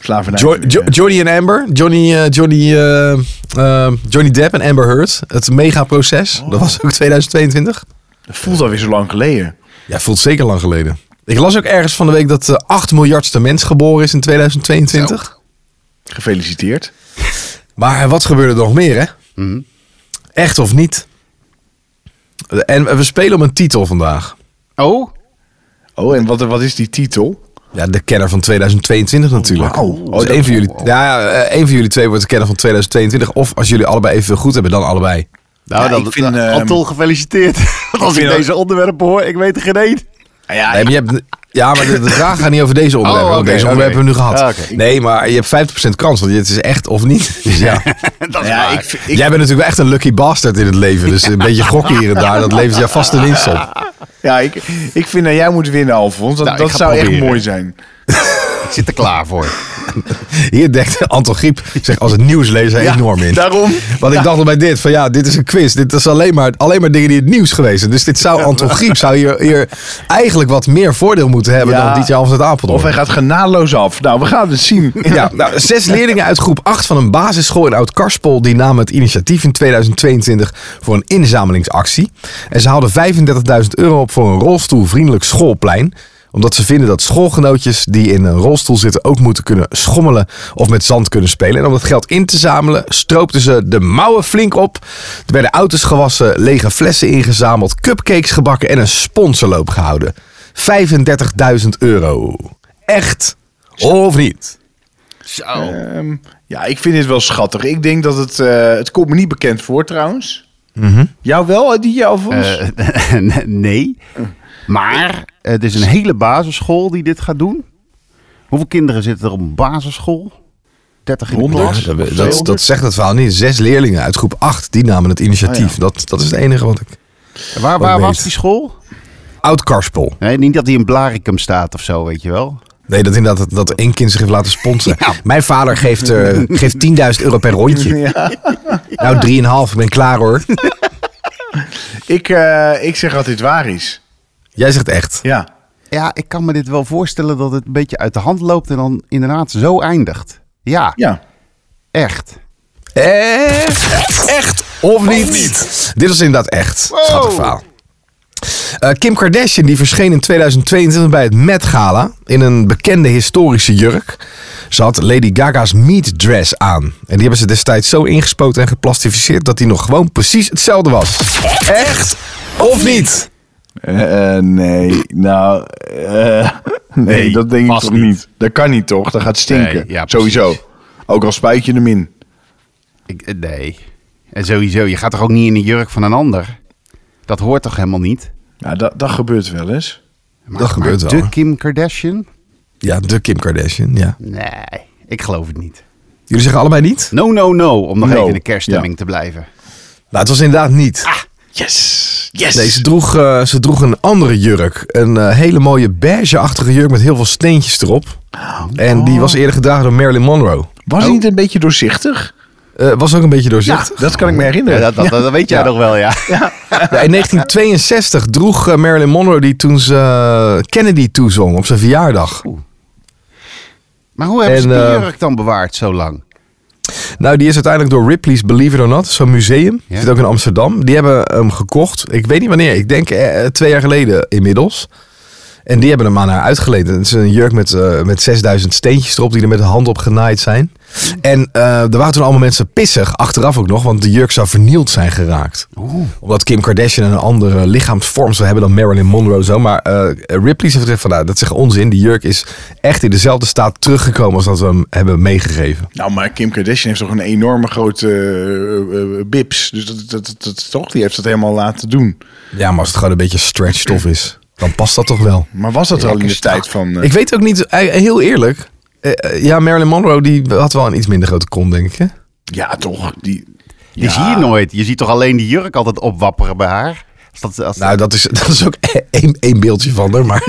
Slavernij.
Jo- Jo- Johnny en Amber. Johnny, eh, Johnny, eh, eh, Johnny Depp en Amber Heard. Het megaproces. Dat was ook 2022.
Dat voelt alweer zo lang geleden.
Ja, voelt zeker lang geleden. Ik las ook ergens van de week dat de 8 miljardste mens geboren is in 2022.
Gefeliciteerd.
Maar wat gebeurde er nog meer, hè? Echt of niet? En we spelen om een titel vandaag.
Oh,
Oh, en wat, wat is die titel?
Ja, de kenner van 2022 natuurlijk.
wauw.
Dus
Oh, dat-
één van jullie, ja, eh, één van jullie twee wordt de kenner van 2022. Of als jullie allebei even goed hebben, dan allebei.
nou,
Ja,
dan,
ik vind,
dan-
ehm,
Anton, gefeliciteerd. Want als ik
vind dat-
deze onderwerpen hoor, ik weet er geen één.
Nou ja,
Nee, maar je hebt, ja, maar de, de vraag gaat niet over deze onderwerpen.
Oh,
want
oké,
deze onderwerpen
oké.
hebben we nu gehad.
Ah, oké.
Nee, maar je hebt 50% kans, want het is echt of niet. Dus ja.
Dat is
ja,
waar.
ik, vind- ik,
Jij bent natuurlijk wel echt een lucky bastard in het leven. Dus een beetje gokken hier en daar, dat levert jou vast de winst op.
ja, ik, ik vind dat jij moet winnen, Alfons. Dat,
Nou, ik
dat
ga
zou echt
proberen.
mooi zijn.
ik zit er klaar voor.
Hier denkt Anton Griep zich als een nieuwslezer enorm in.
Daarom.
Want ik dacht al bij dit, van ja, dit is een quiz. Dit is alleen maar, alleen maar dingen die het nieuws geweest zijn. Dus dit zou Anton Griep zou hier, hier eigenlijk wat meer voordeel moeten hebben
Ja.
dan DJ Alves uit
Of hij
Apeldoorn.
gaat genadeloos af. Nou, we gaan het zien.
Ja, nou, zes leerlingen uit groep 8 van een basisschool in Oud-Karspol... die namen het initiatief in 2022 voor een inzamelingsactie. En ze hadden 35.000 euro op voor een rolstoelvriendelijk schoolplein omdat ze vinden dat schoolgenootjes die in een rolstoel zitten ook moeten kunnen schommelen of met zand kunnen spelen. En om dat geld in te zamelen stroopten ze de mouwen flink op. Er werden auto's gewassen, lege flessen ingezameld, cupcakes gebakken en een sponsorloop gehouden. 35.000 euro. Echt of niet?
Zo.
Ehm, ja, ik vind dit wel schattig. Ik denk dat het... eh, het komt me niet bekend voor, trouwens. Jou wel, die Alfons?
Eh, nee. Maar het is een hele basisschool die dit gaat doen. Hoeveel kinderen zitten er op een basisschool? 30 in de
Honderd?
klas?
Ja, dat, dat,
Veel.
dat zegt het verhaal niet. Zes leerlingen uit groep 8 die namen het initiatief. dat, dat is het enige wat ik.
Waar, waar
weet.
was die school?
Oud Karspel.
Nee, niet dat die in Blaricum staat of zo, weet je wel.
Nee, dat inderdaad dat, dat één kind zich heeft laten sponsoren. Mijn vader geeft, eh, geeft 10.000 euro per rondje. Nou, 3,5. Ik ben klaar hoor.
Ik, eh, ik zeg dat dit waar is.
Jij zegt echt.
Ja.
Ja, ik kan me dit wel voorstellen dat het een beetje uit de hand loopt en dan inderdaad zo eindigt. Ja,
Ja.
echt.
Echt? Echt of niet? Dit was inderdaad echt. Schattig verhaal. Eh, Kim Kardashian die verscheen in 2022 bij het Met Gala in een bekende historische jurk. Ze had Lady Gaga's meat dress aan. En die hebben ze destijds zo ingespoten en geplastificeerd dat die nog gewoon precies hetzelfde was. Echt of niet?
Eh, eh, nee, nou, eh, nee,
Nee,
dat denk ik
vast
toch
niet.
niet. Dat kan niet toch? Dat gaat stinken.
Nee, ja, precies.
Sowieso. Ook al spuit je hem in.
Ik, eh, nee. En sowieso, je gaat toch ook niet in de jurk van een ander? Dat hoort toch helemaal niet?
Ja, dat, dat gebeurt wel eens.
Maar,
Dat gebeurt
maar
wel,
De
hè?
Kim Kardashian?
Ja, de Kim Kardashian, ja.
Nee, ik geloof het niet.
Jullie zeggen allebei niet?
No, no, no, om nog
No.
even in de kerststemming
Ja.
te blijven.
Nou, het was inderdaad niet.
Yes, yes.
Nee, ze droeg, eh, ze droeg een andere jurk. Een eh, hele mooie beigeachtige jurk met heel veel steentjes erop.
Oh.
En die was eerder gedragen door Marilyn Monroe.
Was
Oh.
hij niet een beetje doorzichtig?
Eh, was ook een beetje
Ja,
doorzichtig.
dat kan ik me
Ja,
herinneren.
dat, dat, dat weet jij
Ja.
nog wel, ja.
Ja, in 1962 droeg eh, Marilyn Monroe die toen ze eh, Kennedy toezong op zijn verjaardag.
Maar hoe hebben
En,
ze die
eh,
jurk dan bewaard zo lang?
Nou, die is uiteindelijk door Ripley's Believe It or Not, zo'n museum.
Ja.
Zit ook in eh, Amsterdam. Die hebben hem gekocht. Ik weet niet wanneer. Ik denk eh, twee jaar geleden inmiddels. En die hebben hem aan haar uitgeleend. Het is een jurk met, eh, met 6000 steentjes erop die er met de hand op genaaid zijn. En eh, er waren toen allemaal mensen pissig, achteraf ook nog, want de jurk zou vernield zijn geraakt. Omdat Kim Kardashian een andere lichaamsvorm zou hebben dan Marilyn Monroe zo. Maar eh Ripley heeft gezegd van nou, dat is echt onzin. Die jurk is echt in dezelfde staat teruggekomen als dat we hem hebben meegegeven.
Nou, maar Kim Kardashian heeft toch een enorme grote eh, eh, bips. Dus dat, dat, dat, dat- toch, die heeft dat helemaal laten doen.
Ja, maar als het gewoon een beetje stretch stof is, dan past dat toch wel.
Maar was dat al in de tijd van... eh,
Ik weet ook niet, eh, heel eerlijk. eh, eh, Ja, Marilyn Monroe die had wel een iets minder grote kont, denk ik. hè?
Ja, toch. Die,
Die zie je nooit. Je ziet toch alleen die jurk altijd opwapperen bij haar? Als dat, als
Nou, dat is, dat is ook één, één beeldje van haar, maar...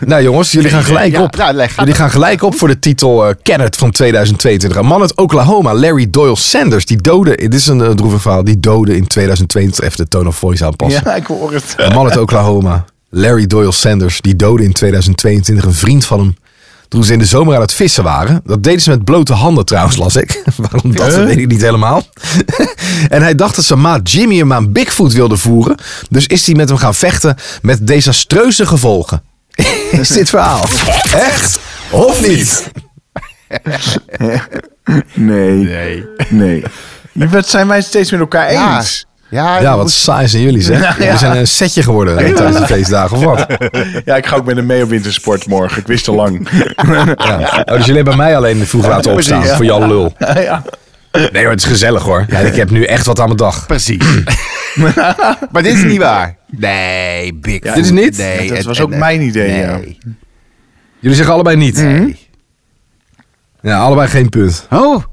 nou jongens, jullie gaan gelijk
Ja,
op.
nou, leg-
jullie gaan gelijk op voor de titel eh Kenneth van 2022. Een man uit Oklahoma, Larry Doyle Sanders, die doodde... Dit is een eh, droevig verhaal. Die doodde in 2022... Even de tone of voice aanpassen.
ja, ik hoor het.
Een man uit Oklahoma, Larry Doyle Sanders, die doodde in 2022 een vriend van hem. Toen ze in de zomer aan het vissen waren. Dat deden ze met blote handen trouwens, las ik. Waarom dat, weet ik niet helemaal. en hij dacht dat zijn maat Jimmy hem aan Bigfoot wilde voeren. Dus is hij met hem gaan vechten met desastreuze gevolgen. is dit verhaal? Echt of niet?
Nee.
Nee.
Nee. Dat zijn wij steeds met elkaar
Ja,
eens.
ja,
Ja,
je
wat
moet-
saai zijn jullie zeg.
Ja, ja.
We zijn een setje geworden eh, tijdens de feestdagen of wat?
Ja, ik ga ook met hem mee op wintersport morgen. Ik wist al lang.
Ja. Oh, dus jullie hebben mij alleen vroeg laten opstaan voor jouw lul.
ja.
Nee hoor, het is gezellig hoor. Ja, ik heb nu echt wat aan mijn dag.
Precies. maar dit is niet waar. Nee, Bigfoot.
dit is niet?
Nee,
Dat
en-
was
en-
ook
en-
mijn idee,
nee.
ja.
Jullie zeggen allebei niet. Mhm. Ja, allebei geen punt.
Oh,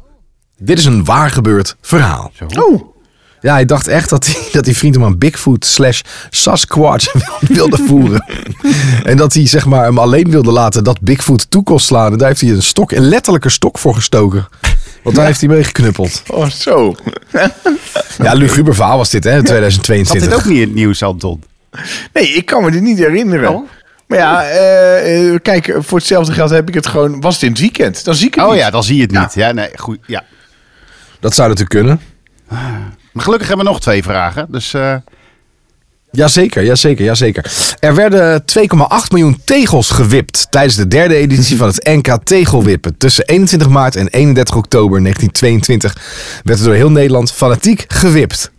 Dit is een waar gebeurd verhaal.
Oh.
Ja, hij dacht echt dat die, dat die vriend hem aan Bigfoot slash Sasquatch wilde voeren. en dat hij zeg maar, hem alleen wilde laten dat Bigfoot toe kon slaan. En daar heeft hij een stok, een letterlijke stok voor gestoken. Want daar heeft hij mee geknuppeld.
Oh, zo.
Ja, luguber verhaal was dit hè, in
zat
2022.
dit ook niet in het nieuws, Anton?
Nee, ik kan me dit niet herinneren.
Oh.
Maar ja, eh, eh, kijk, voor hetzelfde geld heb ik het gewoon... Was het in het weekend? Dan zie ik het
Oh
niet.
ja, dan zie je het niet. Ja, nee, goed, ja.
Dat zou natuurlijk kunnen.
Maar gelukkig hebben we nog twee vragen. Dus eh,
Jazeker, jazeker, jazeker. Er werden 2,8 miljoen tegels gewipt tijdens de derde editie van het NK Tegelwippen. Tussen 21 maart en 31 oktober 1922 werd er door heel Nederland fanatiek gewipt.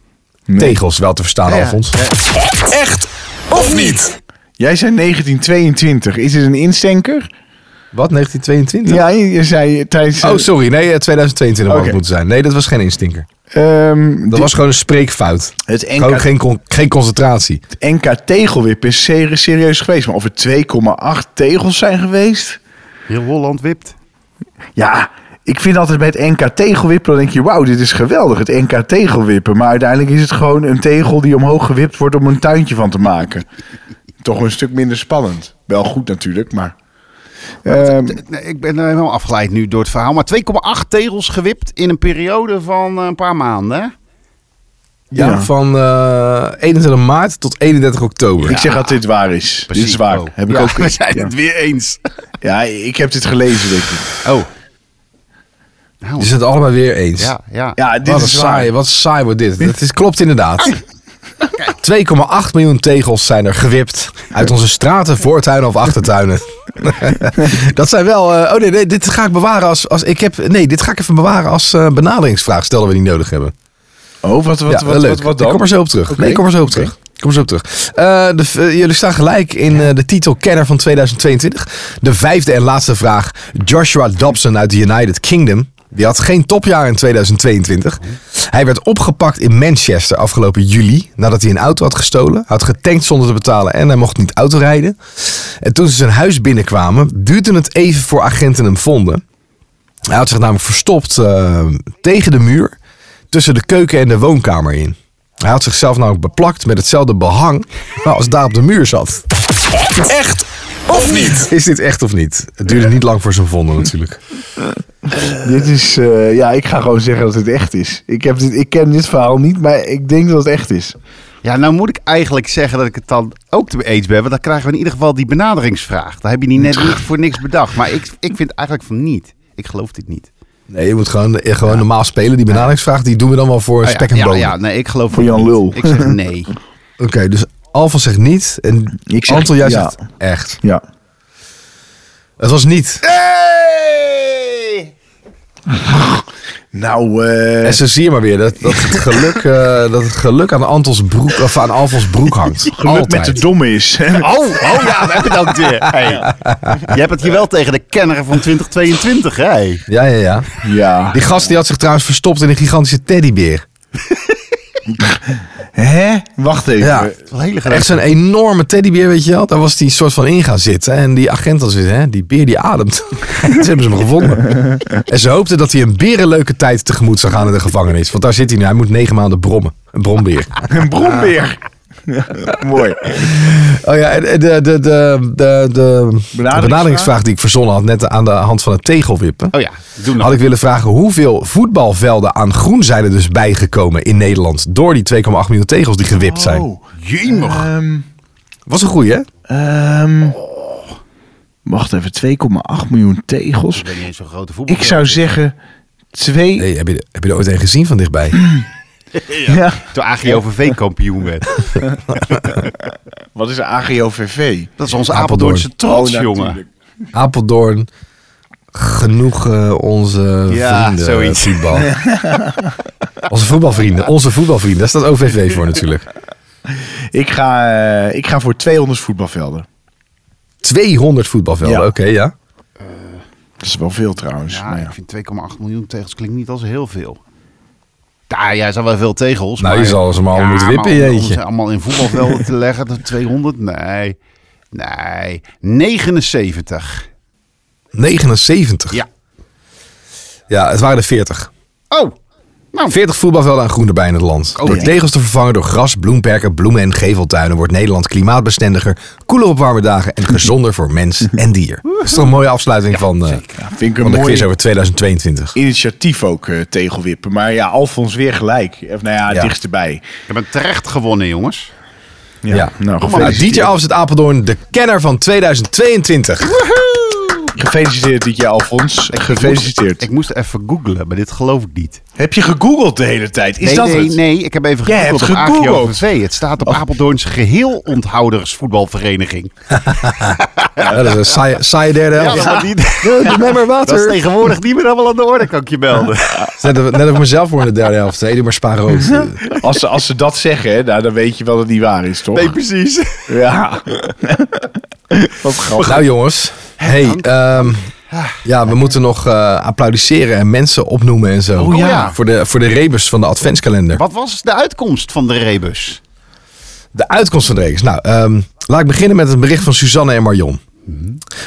Tegels, wel te verstaan,
Ja.
Alfons.
Jij zei 1922. Is dit een instenker?
Wat, 1922?
Ja, je zei tijdens...
Oh, sorry. Nee, eh, 2022 had
Oké.
het moeten zijn. Nee, dat was geen instinker.
ehm,
Dat
dit-
was gewoon een spreekfout.
Het NK
Gewoon geen, con- geen concentratie.
NK tegelwip is ser- serieus geweest. Maar of er 2,8 tegels zijn geweest?
heel Holland wipt.
Ja, ik vind altijd bij het NK tegelwippen... dan denk je, wauw, dit is geweldig, het NK tegelwippen. Maar uiteindelijk is het gewoon een tegel die omhoog gewipt wordt... om een tuintje van te maken. Toch een stuk minder spannend. Wel goed natuurlijk, maar... Ehm,
Nee, ik ben eh, helemaal afgeleid nu door het verhaal. Maar 2,8 tegels gewipt in een periode van eh, een paar maanden. hè?
Ja.
Ja.
Van eh 21 maart tot 31 oktober.
ik zeg dat dit waar is. dit
Precies,
is waar.
oh.
Heb ik
Ja,
ook...
We zijn
ja.
het weer eens.
Ja, ik heb dit gelezen, denk ik.
Oh.
Je zijn het allebei weer eens.
Ja, ja.
Ja, dit
wat
is
een
waar.
saai, wat saai wordt dit. Het is, klopt inderdaad.
Ah.
2,8 miljoen tegels zijn er gewipt uit onze straten, voortuinen of achtertuinen. dat zijn wel. eh, oh nee, nee, dit ga ik bewaren als, als ik heb. Nee, dit ga ik even bewaren als eh, benaderingsvraag. Stel dat we die nodig hebben.
Oh, wat, wat,
ja,
wat,
wel
wat,
leuk.
wat,
Ik kom
dan?
er zo op terug. Nee, ik kom er zo op terug. Ik Kom er zo op terug. Eh, de, v- eh, jullie staan gelijk in eh, de titel Kenner van 2022. De vijfde en laatste vraag. Joshua Dobson uit de United Kingdom. Die had geen topjaar in 2022. Hij werd opgepakt in Manchester afgelopen juli. Nadat hij een auto had gestolen. Had getankt zonder te betalen. En hij mocht niet autorijden. En toen ze zijn huis binnenkwamen. Duurde het even voor agenten hem vonden. Hij had zich namelijk verstopt eh, tegen de muur tussen de keuken en de woonkamer in. Hij had zichzelf namelijk beplakt met hetzelfde behang nou, als daar op de muur zat. Echt of niet? Is dit echt of niet? Het duurde niet lang voor ze hem vonden natuurlijk.
Dit is, eh, ja, ik ga gewoon zeggen dat het echt is. Ik, heb dit, ik ken dit verhaal niet, maar ik denk dat het echt is.
Ja, nou moet ik eigenlijk zeggen dat ik het dan ook te eens ben. Want dan krijgen we in ieder geval die benaderingsvraag. Dan heb je die net niet voor niks bedacht. Maar ik, ik vind eigenlijk van niet. Ik geloof dit niet.
Nee, je moet gewoon, eh, gewoon normaal spelen. Die benaderingsvraag die doen we dan wel voor
Oh ja,
spek en
ja,
bonen.
ja, nee, ik geloof
Voor
het
Jan
niet.
Lul.
Ik zeg nee.
Oké, dus Alfa zegt niet. En
Ik zeg
Anton, jij
ja.
zegt echt.
Ja.
Het was niet.
Hey!
Nou, eh,
En zo zie je maar weer dat, dat, het, geluk, eh, dat het geluk aan Antons broek, of aan Alfons broek hangt.
geluk
Altijd.
met de domme is.
Oh, oh ja, we hebben dat weer. Hey. Je hebt het hier wel tegen de kenner van 2022, hè? hey.
Ja, ja, ja.
ja.
Die gast die had zich trouwens verstopt in een gigantische teddybeer.
Hè? Wacht even.
Ja.
Wel hele
Echt
graag.
zo'n enorme teddybeer, weet je wel. Daar was die soort van in gaan zitten. En die agent was weer, hè, die beer die ademt. dus hebben ze hem gevonden. En ze hoopten dat hij een berenleuke tijd tegemoet zou gaan in de gevangenis. Want daar zit hij nu. Hij moet negen maanden brommen. Een brombeer.
Een brombeer. Mooi.
Oh ja, en- en de, de, de, de, de benaderingsvraag die ik verzonnen had, net aan de hand van het tegelwippen.
Oh ja, doe nog.
Had ik willen vragen hoeveel voetbalvelden aan groen zijn er dus bijgekomen in Nederland door die 2,8 miljoen tegels die gewipt zijn.
Oh, jemig.
Was een goeie, hè?
Ehm, wacht even, 2,8 miljoen tegels.
Eh,
ben niet eens zo'n grote voetbal.
Ik zou zeggen 2.
Nee, heb je, heb je er ooit een gezien van dichtbij?
Ja.
Toen AGOVV kampioen werd.
Wat is een AGOVV?
Dat is onze
Apeldoorn. Oh,
Apeldoornse trots, jongen.
natuurlijk.
Apeldoorn, genoeg eh, onze
Ja,
vrienden
zoiets.
voetbal. onze voetbalvrienden, onze voetbalvrienden. Daar staat OVV voor natuurlijk.
Ik ga, eh, ik ga voor 200 voetbalvelden.
200 voetbalvelden,
Ja.
oké, ja.
Dat is wel veel trouwens.
Ja,
maar ja.
ik vind 2,8 miljoen tegels klinkt niet als heel veel. Ja, jij zou wel veel tegels.
Nou, je
maar...
zal ze maar allemaal moeten wippen,
maar om-
jeetje.
Om ze allemaal in voetbalvelden te leggen, de 200? Nee. Nee. 79.
79.
Ja.
Ja, het waren er 40.
Oh. Nou,
40 voetbalvelden aan groen erbij in het land.
Oh,
door
ja.
tegels te vervangen door gras, bloemperken, bloemen en geveltuinen wordt Nederland klimaatbestendiger, koeler op warme dagen en gezonder voor mens en dier. Dat is toch een mooie afsluiting van, eh,
Vind ik een
van de
mooi
quiz over 2022.
initiatief ook eh, tegelwippen. Maar ja, Alfons weer gelijk. Of nou ja,
Ja.
dichtst erbij.
ik heb het terecht gewonnen, jongens.
Ja,
Nou,
Nou,
gefeliciteerd.
DJ Alves uit Apeldoorn, de kenner van 2022.
Gefeliciteerd, DJ Alfons. Gefeliciteerd.
Ik moest even googlen, maar dit geloof ik niet.
Heb je gegoogeld de hele tijd? Is
nee,
dat
nee,
het?
nee, ik heb even
Jij
gegoogeld op
hebt gegoogeld.
AGOVV. Het staat op Apeldoornse geheelonthoudersvoetbalvereniging.
Ja, dat is een saaie, saaie derde helft.
dat wordt niet-
Doe mij maar
Dat is
water.
tegenwoordig niet meer allemaal aan de orde, kan ik je melden.
Net of- net of ik mezelf voor in de derde helft. Hey, doe maar spa rood.
Als, ze, als ze dat zeggen, hè, nou, dan weet je wel dat het niet waar is, toch?
Nee, precies.
Ja. Wat grappig.
Nou jongens, hey, ehm, ja, we moeten nog eh, applaudisseren en mensen opnoemen en zo.
Oh, ja.
Voor de, voor de rebus van de adventskalender.
Wat was de uitkomst van de rebus?
De uitkomst van de reeks. Nou, ehm, laat ik beginnen met een bericht van Suzanne en Marion.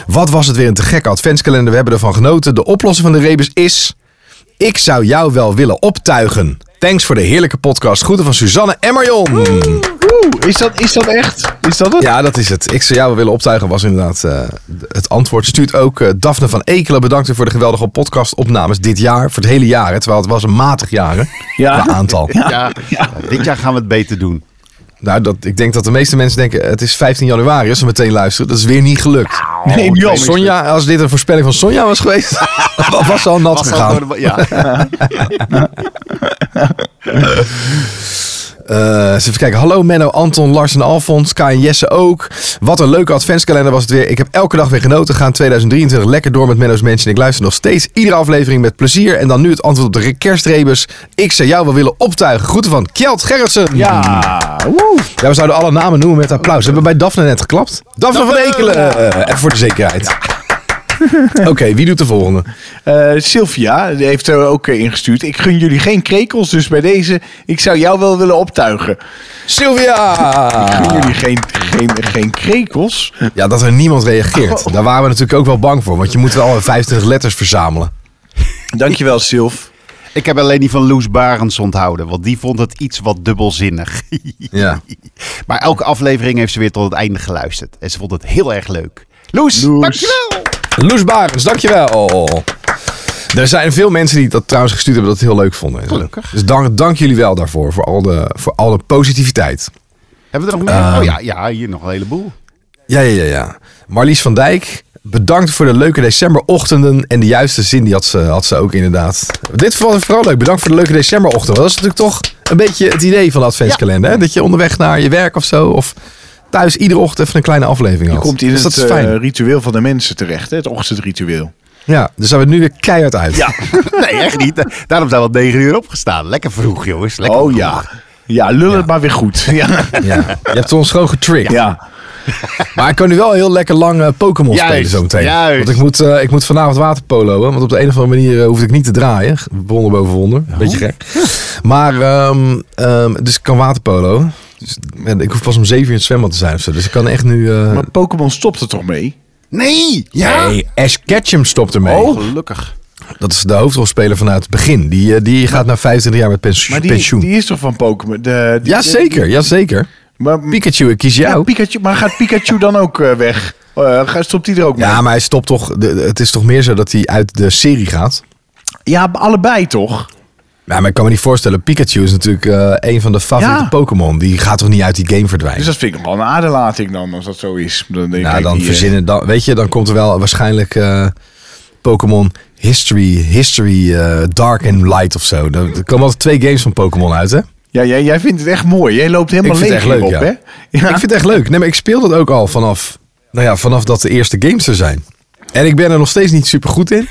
Wat was het weer een te gekke adventskalender. We hebben ervan genoten. De oplossing van de rebus is... Ik zou jou wel willen optuigen. Thanks voor de heerlijke podcast. Groeten van Suzanne en Marion.
Oeh, is dat, is dat echt? Is dat het?
Ja, dat is het. Ik zou jou wel willen optuigen was inderdaad eh, het antwoord. Stuurt ook eh, Daphne van Ekelen. Bedankt weer voor de geweldige podcastopnames dit jaar. Voor het hele jaar. hè, Terwijl het was een matig jaar. hè,
Ja.
Qua aantal.
Ja, dit jaar gaan we het beter doen.
Nou, dat, ik denk dat de meeste mensen denken... Het is 15 januari als ze meteen luisteren. Dat is weer niet gelukt.
Nee, niet
Als
anders.
Sonja, als dit een voorspelling van Sonja was geweest, was ze al nat
Was dat
gegaan.
door de- ja.
Eh, eens even kijken. Hallo Menno, Anton, Lars en Alfons, Kai en Jesse ook. Wat een leuke adventskalender was het weer. Ik heb elke dag weer genoten. Gaan 2023 lekker door met Menno's Mensen. Ik luister nog steeds iedere aflevering met plezier. En dan nu het antwoord op de kerstrebus. Ik zou jou wel willen optuigen. Groeten van Kjeld Gerritsen.
Ja. Woe.
Ja, we zouden alle namen noemen met applaus. Hebben we bij Daphne net geklapt? Daphne, van Ekelen. Eh, even voor de zekerheid. Oké, wie doet de volgende?
Eh, Sylvia die heeft er ook eh, ingestuurd. Ik gun jullie geen krekels, dus bij deze, ik zou jou wel willen optuigen.
Sylvia!
Gun jullie geen, geen, geen krekels?
Ja, dat er niemand reageert. Daar waren we natuurlijk ook wel bang voor. Want je moet wel 25 letters verzamelen.
Dankjewel, Sylv.
Ik heb alleen die van Loes Barends onthouden, want die vond het iets wat dubbelzinnig.
Ja.
maar elke aflevering heeft ze weer tot het einde geluisterd. En ze vond het heel erg leuk. Loes,
Loes.
dankjewel!
Loes Barens, dankjewel. Er zijn veel mensen die dat trouwens gestuurd hebben dat het heel leuk vonden. Dus dank, dank jullie wel daarvoor. Voor al, de, voor al de positiviteit.
Hebben we er nog meer? oh ja, ja, hier nog een heleboel.
Ja, ja, ja, ja. Marlies van Dijk, bedankt voor de leuke decemberochtenden. En de juiste zin die had ze, had ze ook inderdaad. Dit vond ik vooral leuk. Bedankt voor de leuke decemberochtend. Want Dat is natuurlijk toch een beetje het idee van de adventskalender. Hè? Dat je onderweg naar je werk of zo, of thuis iedere ochtend even een kleine aflevering had.
Je komt in
dus dat
het
is fijn.
eh, ritueel van de mensen terecht, hè? het ochtendritueel.
ja, dus zijn we nu weer keihard uit.
Ja, nee, echt niet. Daarom zijn we al negen uur opgestaan. Lekker vroeg, jongens. Lekker
oh
vroeg.
ja. Ja, lul het maar weer goed. Ja.
Ja. Je hebt ons gewoon getrickt.
ja.
Maar ik kan nu wel heel lekker lang eh, Pokémon spelen
Juist,
zo meteen.
juist.
Want ik moet, eh, ik moet vanavond waterpoloen. Want op de een of andere manier eh, hoefde ik niet te draaien. Wonder boven wonder. Beetje gek. Maar, ehm, ehm, dus ik kan waterpolo. Dus, en ik hoef pas om zeven uur in het zwembad te zijn of zo. Dus ik kan echt nu... eh,
Maar Pokémon stopt er toch mee?
Nee! Ja!
Nee, Ash Ketchum stopt ermee.
Oh.
gelukkig.
Dat is de hoofdrolspeler vanuit het begin. Die, eh, die gaat na 25 jaar met pensioen.
Maar die,
pensioen.
die is toch van Pokémon? De- die-
jazeker, jazeker.
Maar,
Pikachu, ik kies jou.
ja,
Ja,
Pikachu, maar gaat Pikachu dan ook eh, weg? Eh, gaat- stopt die er ook mee? Ja,
maar hij stopt toch... de- het is toch meer zo dat hij uit de serie gaat?
allebei toch?
Ja, maar ik kan me niet voorstellen. Pikachu is natuurlijk eh, een van de favoriete
Ja.
Pokémon. Die gaat toch niet uit die game
Dus
verdwijnen?
dat vind ik nog wel een aderlating dan, als dat zo is. Dan denk
nou,
ik,
dan
die, eh,
verzinnen... Dan, weet je, dan komt er wel waarschijnlijk eh, Pokémon History, History eh, Dark and Light of zo. Er er komen altijd twee games van Pokémon uit, hè?
Ja, jij, jij vindt het echt mooi. Jij loopt helemaal
Ik vind het
leeg
echt
op,
leuk,
hè?
ja. Ik vind het echt leuk. Nee, maar ik speel dat ook al vanaf, nou ja, vanaf dat de eerste games er zijn. En ik ben er nog steeds niet super goed in.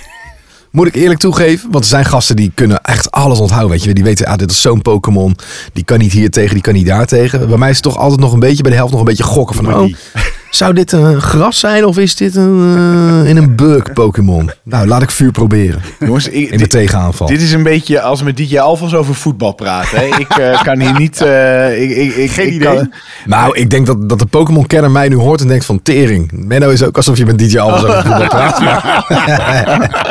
Moet ik eerlijk toegeven. Want er zijn gasten die kunnen echt alles onthouden. Weet je. Die weten, ah, dit is zo'n Pokémon. Die kan niet hier tegen, die kan niet daar tegen. Bij mij is het toch altijd nog een beetje, bij de helft nog een beetje gokken. Van, oh, zou dit een gras zijn of is dit een, eh, in een bug Pokémon? Nou, laat ik vuur proberen.
Jongens, ik,
In de
dit,
tegenaanval.
dit is een beetje als met DJ Alfons over voetbal praten. Hè? Ik eh, kan hier niet... eh, ik, ik, ik,
Geen
ik
idee.
kan-
Nou, ik denk dat, dat de Pokémon-kenner mij nu hoort en denkt van tering. Menno is ook alsof je met DJ Alves over voetbal praat. maar-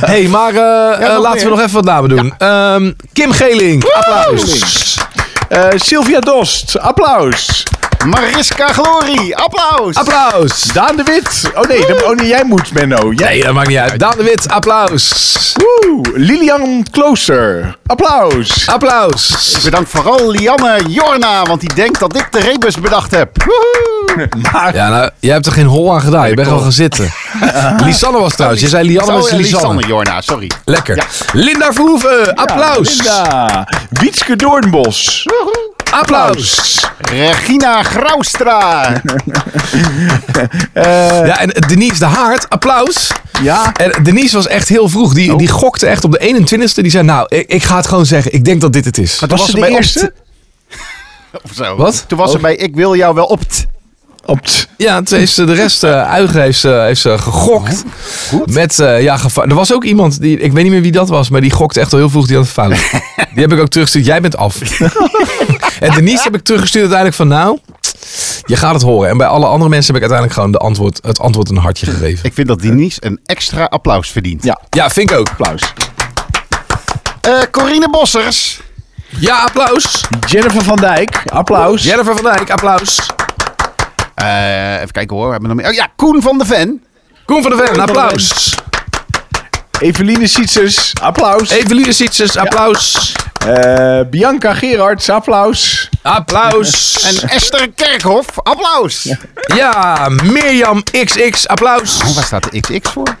hey, maar eh, eh, laten we nog even wat namen doen. Ehm, Kim Geling, applaus.
Eh, Sylvia Dost, applaus.
Mariska Glory, applaus!
Applaus.
Daan de Wit. Oh nee, dat- oh, nee jij moet, Menno. Jij,
Nee, dat maakt niet uit. Daan de Wit, applaus.
Woe, Lilian Klooster, applaus.
Applaus.
Bedankt vooral Lianne Jorna, want die denkt dat ik de rebus bedacht heb. Woehoe!
Maar
Ja, nou, jij hebt er geen hol aan gedaan. Je bent gewoon gaan zitten. Lisanne was trouwens. Je zei Lianne, maar het
Sorry,
is Oh, Lisanne.
Oh, Lisanne Jorna, sorry.
Lekker. Linda Verhoeven, applaus.
Linda. Wietske Doornbos,
Applaus.
Regina Graustra.
Ja, en Denise de Haart, applaus.
Ja.
En Denise was echt heel vroeg. Die, die gokte echt op de 21ste. Die zei, nou, ik, ik ga het gewoon zeggen. Ik denk dat dit het is.
was
ze
de
bij
eerste?
Of zo.
Wat?
Toen was ze bij Ik wil jou wel op. t.
Op t-
Ja, toen heeft ze de rest, eh Uigen heeft ze, heeft ze gegokt. Met, eh, ja, geva- er was ook iemand, die, ik weet niet meer wie dat was, maar die gokte echt al heel vroeg die aan het fout. die heb ik ook teruggestuurd, jij bent af. en Denise heb ik teruggestuurd uiteindelijk van, nou, je gaat het horen. En bij alle andere mensen heb ik uiteindelijk gewoon de antwoord, het antwoord een hartje gegeven.
Ik vind dat Denise een extra applaus verdient.
Ja,
Ja, vind ik ook.
applaus.
Eh, Corine Bossers.
Ja, applaus.
Jennifer van Dijk, applaus.
Jennifer van Dijk, applaus.
Eh, even kijken hoor. we Hebben we nog meer? Oh ja, Koen van de Ven.
Koen van der Ven,
van der
applaus.
Eveline Sietsers, applaus.
Eveline Sietsers, applaus.
Eh, Bianca Gerards, applaus.
Applaus.
En Esther Kerkhof. Applaus.
ja, Mirjam XX, applaus.
Waar staat de XX voor?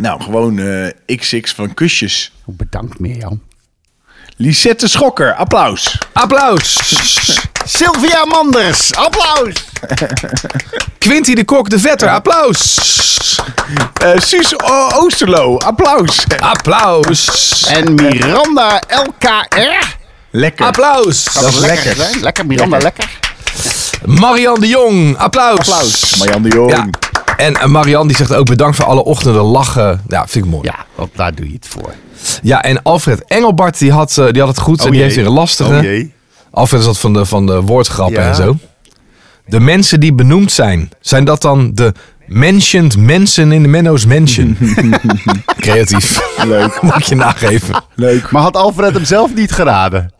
Nou, gewoon eh XX van kusjes.
Oh, bedankt Mirjam.
Lisette Schokker, applaus.
Applaus.
Sylvia Manders. Applaus.
Quinty de Kok de Vetter, applaus.
Eh Suus O- Oosterlo, applaus.
Applaus.
En Miranda LKR.
Lekker.
Applaus.
Dat is lekker. zijn. Lekker Miranda, lekker.
Marianne de Jong, applaus.
applaus. Marjan de Jong.
Ja. En eh, Marianne die zegt ook bedankt voor alle ochtenden lachen. Ja, vind ik mooi.
Ja, want daar doe je het voor.
Ja, en Alfred Engelbart die had, eh, die had het goed en die
Oh jee.
heeft weer een lastige.
Oh,
Alfred is dat van de, van de woordgrappen
Ja.
en zo. De mensen die benoemd zijn, zijn dat dan de mentioned mensen in de Menno's Mansion? Creatief.
Leuk.
Mag ik je nageven.
Leuk.
Maar had Alfred hem zelf niet geraden?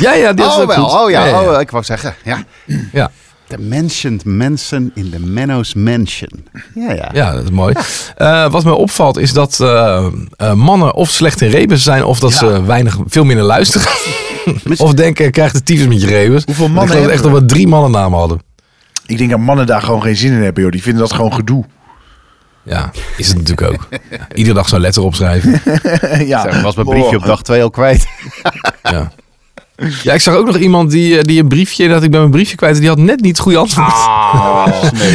Ja, ja, dit is
Oh
ook goed.
wel, oh ja,
ja,
oh, ik wou zeggen. Ja.
ja.
The mentioned mensen in de Menno's Mansion. Ja, ja.
Ja, dat is mooi. Eh, wat mij opvalt is dat eh, eh, mannen of slecht in rebus zijn... of dat ze weinig, veel minder luisteren. of denken, krijg de tyfus met je rebus.
Hoeveel
Want
mannen
Ik geloof echt
hebben
dat we drie mannen namen hadden.
Ik denk dat mannen daar gewoon geen zin in hebben, joh. Die vinden dat gewoon gedoe.
Ja, is het natuurlijk ook. Ja, iedere dag zo'n letter opschrijven.
ja.
Zeg, ik was mijn briefje op dag 2 al kwijt.
Ja. ja, ik zag ook nog iemand die, eh, die een briefje, dat ik ben mijn briefje kwijt, en die had net niet het goede antwoord. Oh.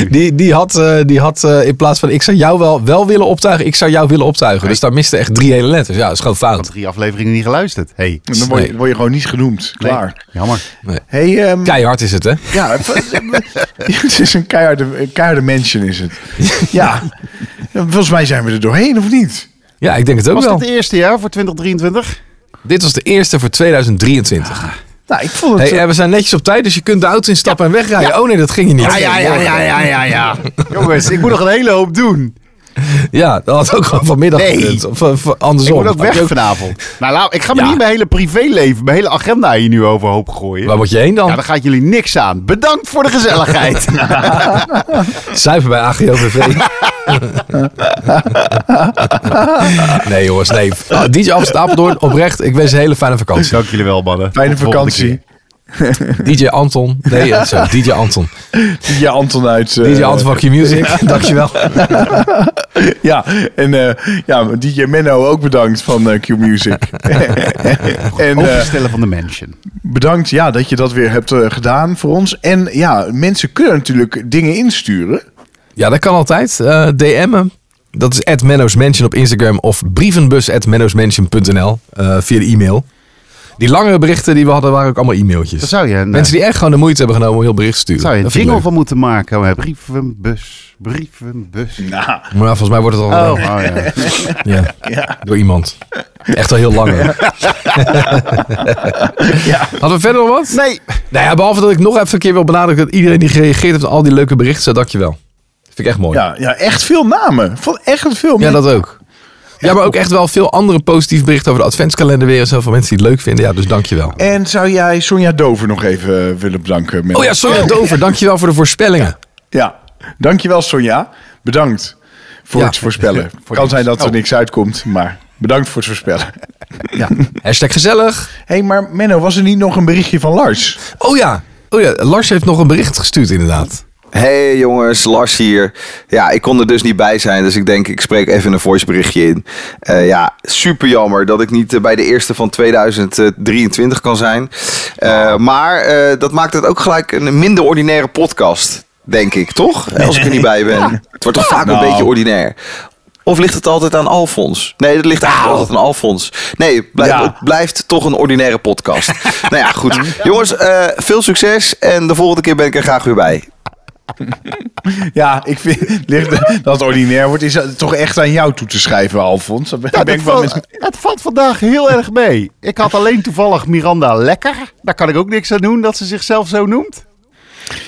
Die, die had, eh, die had eh, in plaats van ik zou jou wel, wel willen optuigen, ik zou jou willen optuigen. Dus daar miste echt drie hele letters. Ja, dat is gewoon
Had
fout.
drie afleveringen niet geluisterd. Hey.
Dan word je,
Nee.
word je gewoon niet genoemd. Klaar.
Nee, jammer.
Hey, ehm,
Keihard is het, hè?
ja, het is een keiharde, een keiharde mention is het. ja. Volgens mij zijn we er doorheen, of niet?
Ja, ik denk het ook
Was
wel.
dit het eerste jaar voor 2023?
Dit was de eerste voor
Ah.
2023.
Nou, ik vond het...
Hey, en we zijn netjes op tijd, dus je kunt de auto instappen en wegrijden. Oh nee, dat ging je niet.
ja, ja, ja. Jongens, ik moet nog een hele hoop doen.
Ja, dat had ook gewoon vanmiddag
Nee.
gekund. Of, of andersom.
Ik moet ook
Had Oh, je
weg vanavond. Nou, laat- ik ga me
Ja.
niet mijn hele privéleven, mijn hele agenda hier nu overhoop gooien.
Waar moet je heen dan?
Ja, daar gaat jullie niks aan. Bedankt voor de gezelligheid.
Zuiver bij AGOVV. nee jongens, nee. Ah, DJ Afstand Apeldoorn, oprecht. Ik wens je een hele fijne vakantie.
Dank jullie wel, mannen.
Fijne
Tot de volgende
vakantie.
keer.
DJ Anton. Nee, eh, zo, DJ Anton.
Ja, Anton uit... eh,
DJ Anton van Q-Music. Dankjewel.
Ja, en eh, ja, DJ Menno ook bedankt van eh, Q-Music. en eh,
Overstellen van de mansion.
bedankt ja, dat je dat weer hebt eh, gedaan voor ons. En ja, mensen kunnen natuurlijk dingen insturen.
Ja, dat kan altijd. Eh, DM'en. Dat is at menno'smansion op Instagram of brievenbus at menno'smansion.nl eh, via de e-mail. Die langere berichten die we hadden waren ook allemaal e-mailtjes.
Daar zou je een,
Mensen die echt gewoon de moeite hebben genomen om heel bericht te sturen.
zou je een
Dat vind ik
jingle
leuk.
van moeten maken. Oh, Brievenbus, brievenbus.
Maar volgens mij wordt het al
Oh, oh, ja.
ja, door iemand. Echt al heel lang. hè. Hadden we verder nog wat?
Nee,
Nou ja, behalve dat ik nog even een keer wil benadrukken dat iedereen die gereageerd heeft op al die leuke berichten, zei dankjewel. Vind ik echt mooi.
Ja, ja echt veel namen. Van echt veel
Ja,
mensen.
dat ook. Ja, maar ook echt wel veel andere positieve berichten over de adventskalender weer. En zo van mensen die het leuk vinden. Ja, dus dankjewel.
En zou jij Sonja Dover nog even eh, willen bedanken? Menno?
Oh ja, sorry Dover, dankjewel voor de voorspellingen.
Ja, dankjewel Sonja. Bedankt voor
Ja.
het voorspellen.
Voor
kan
niks.
zijn dat er
Oh.
niks uitkomt, maar bedankt voor het voorspellen.
Hashtag gezellig.
Hé, hey, maar Menno, was er niet nog een berichtje van Lars?
Oh ja. oh ja, Lars heeft nog een bericht gestuurd inderdaad.
Hey jongens, Lars hier. Ja, ik kon er dus niet bij zijn, dus ik denk ik spreek even een voiceberichtje in. Eh, ja, super jammer dat ik niet eh, bij de eerste van 2023 kan zijn. Eh, maar eh, dat maakt het ook gelijk een minder ordinaire podcast, denk ik, toch? Als ik er niet bij ben. Het wordt toch vaak
Nou.
een beetje ordinair. Of ligt het altijd aan Alfons? Nee, dat ligt eigenlijk altijd aan Alfons. Nee, blij-
Nou. Ja.
het blijft toch een ordinaire podcast. nou ja, goed. Jongens, eh, veel succes en de volgende keer ben ik er graag weer bij.
Ja, ik vind ligt, dat het ordinair wordt, is dat toch echt aan jou toe te schrijven, Alfons. Dat ben,
Ja,
ben
dat
ik wel
valt,
met...
het valt vandaag heel erg mee. Ik had alleen toevallig Miranda Lekker. Daar kan ik ook niks aan doen dat ze zichzelf zo noemt.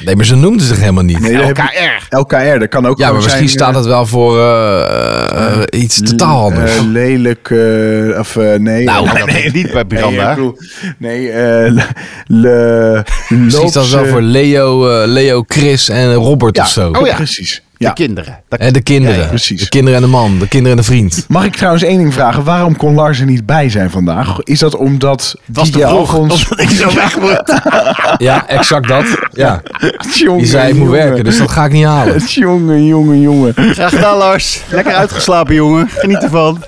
Nee, maar ze noemden zich helemaal niet.
Nee, dat heb ik-
LKR.
LKR, dat kan
Ja, maar
ook gewoon
misschien
zijn,
staat
eh,
het wel voor eh, eh, iets totaal anders.
eh, lelijk, eh, of eh, nee.
Nou,
eh,
dat is niet bij
nee, ik
Miranda.
bedoel, nee, eh, le, le,
Misschien is dat wel
loopse-
voor Leo, eh, Leo, Chris en Robert
Ja,
of zo.
Oh ja.
precies.
De
Ja.
kinderen. Dat-
Hè, de kinderen.
Ja, ja, precies.
De kinderen en de man. De kinderen en de vriend.
Mag ik trouwens één ding vragen? Waarom kon Lars er niet bij zijn vandaag? Is dat omdat
was te
DJ
vroeg,
Alfons-
omdat ik zo weg moet.
Ja, exact dat. Ja.
Jongen,
Die zei ik moet
jongen.
werken, dus dat ga ik niet halen.
Jongen, jongen, jongen.
Graag gedaan, Lars. Lekker uitgeslapen, jongen. Geniet ervan.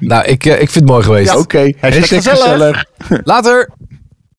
Nou, ik, eh, ik vind het mooi geweest.
Oké,
Hashtag
Hashtag
gezellig.
gezellig.
Later!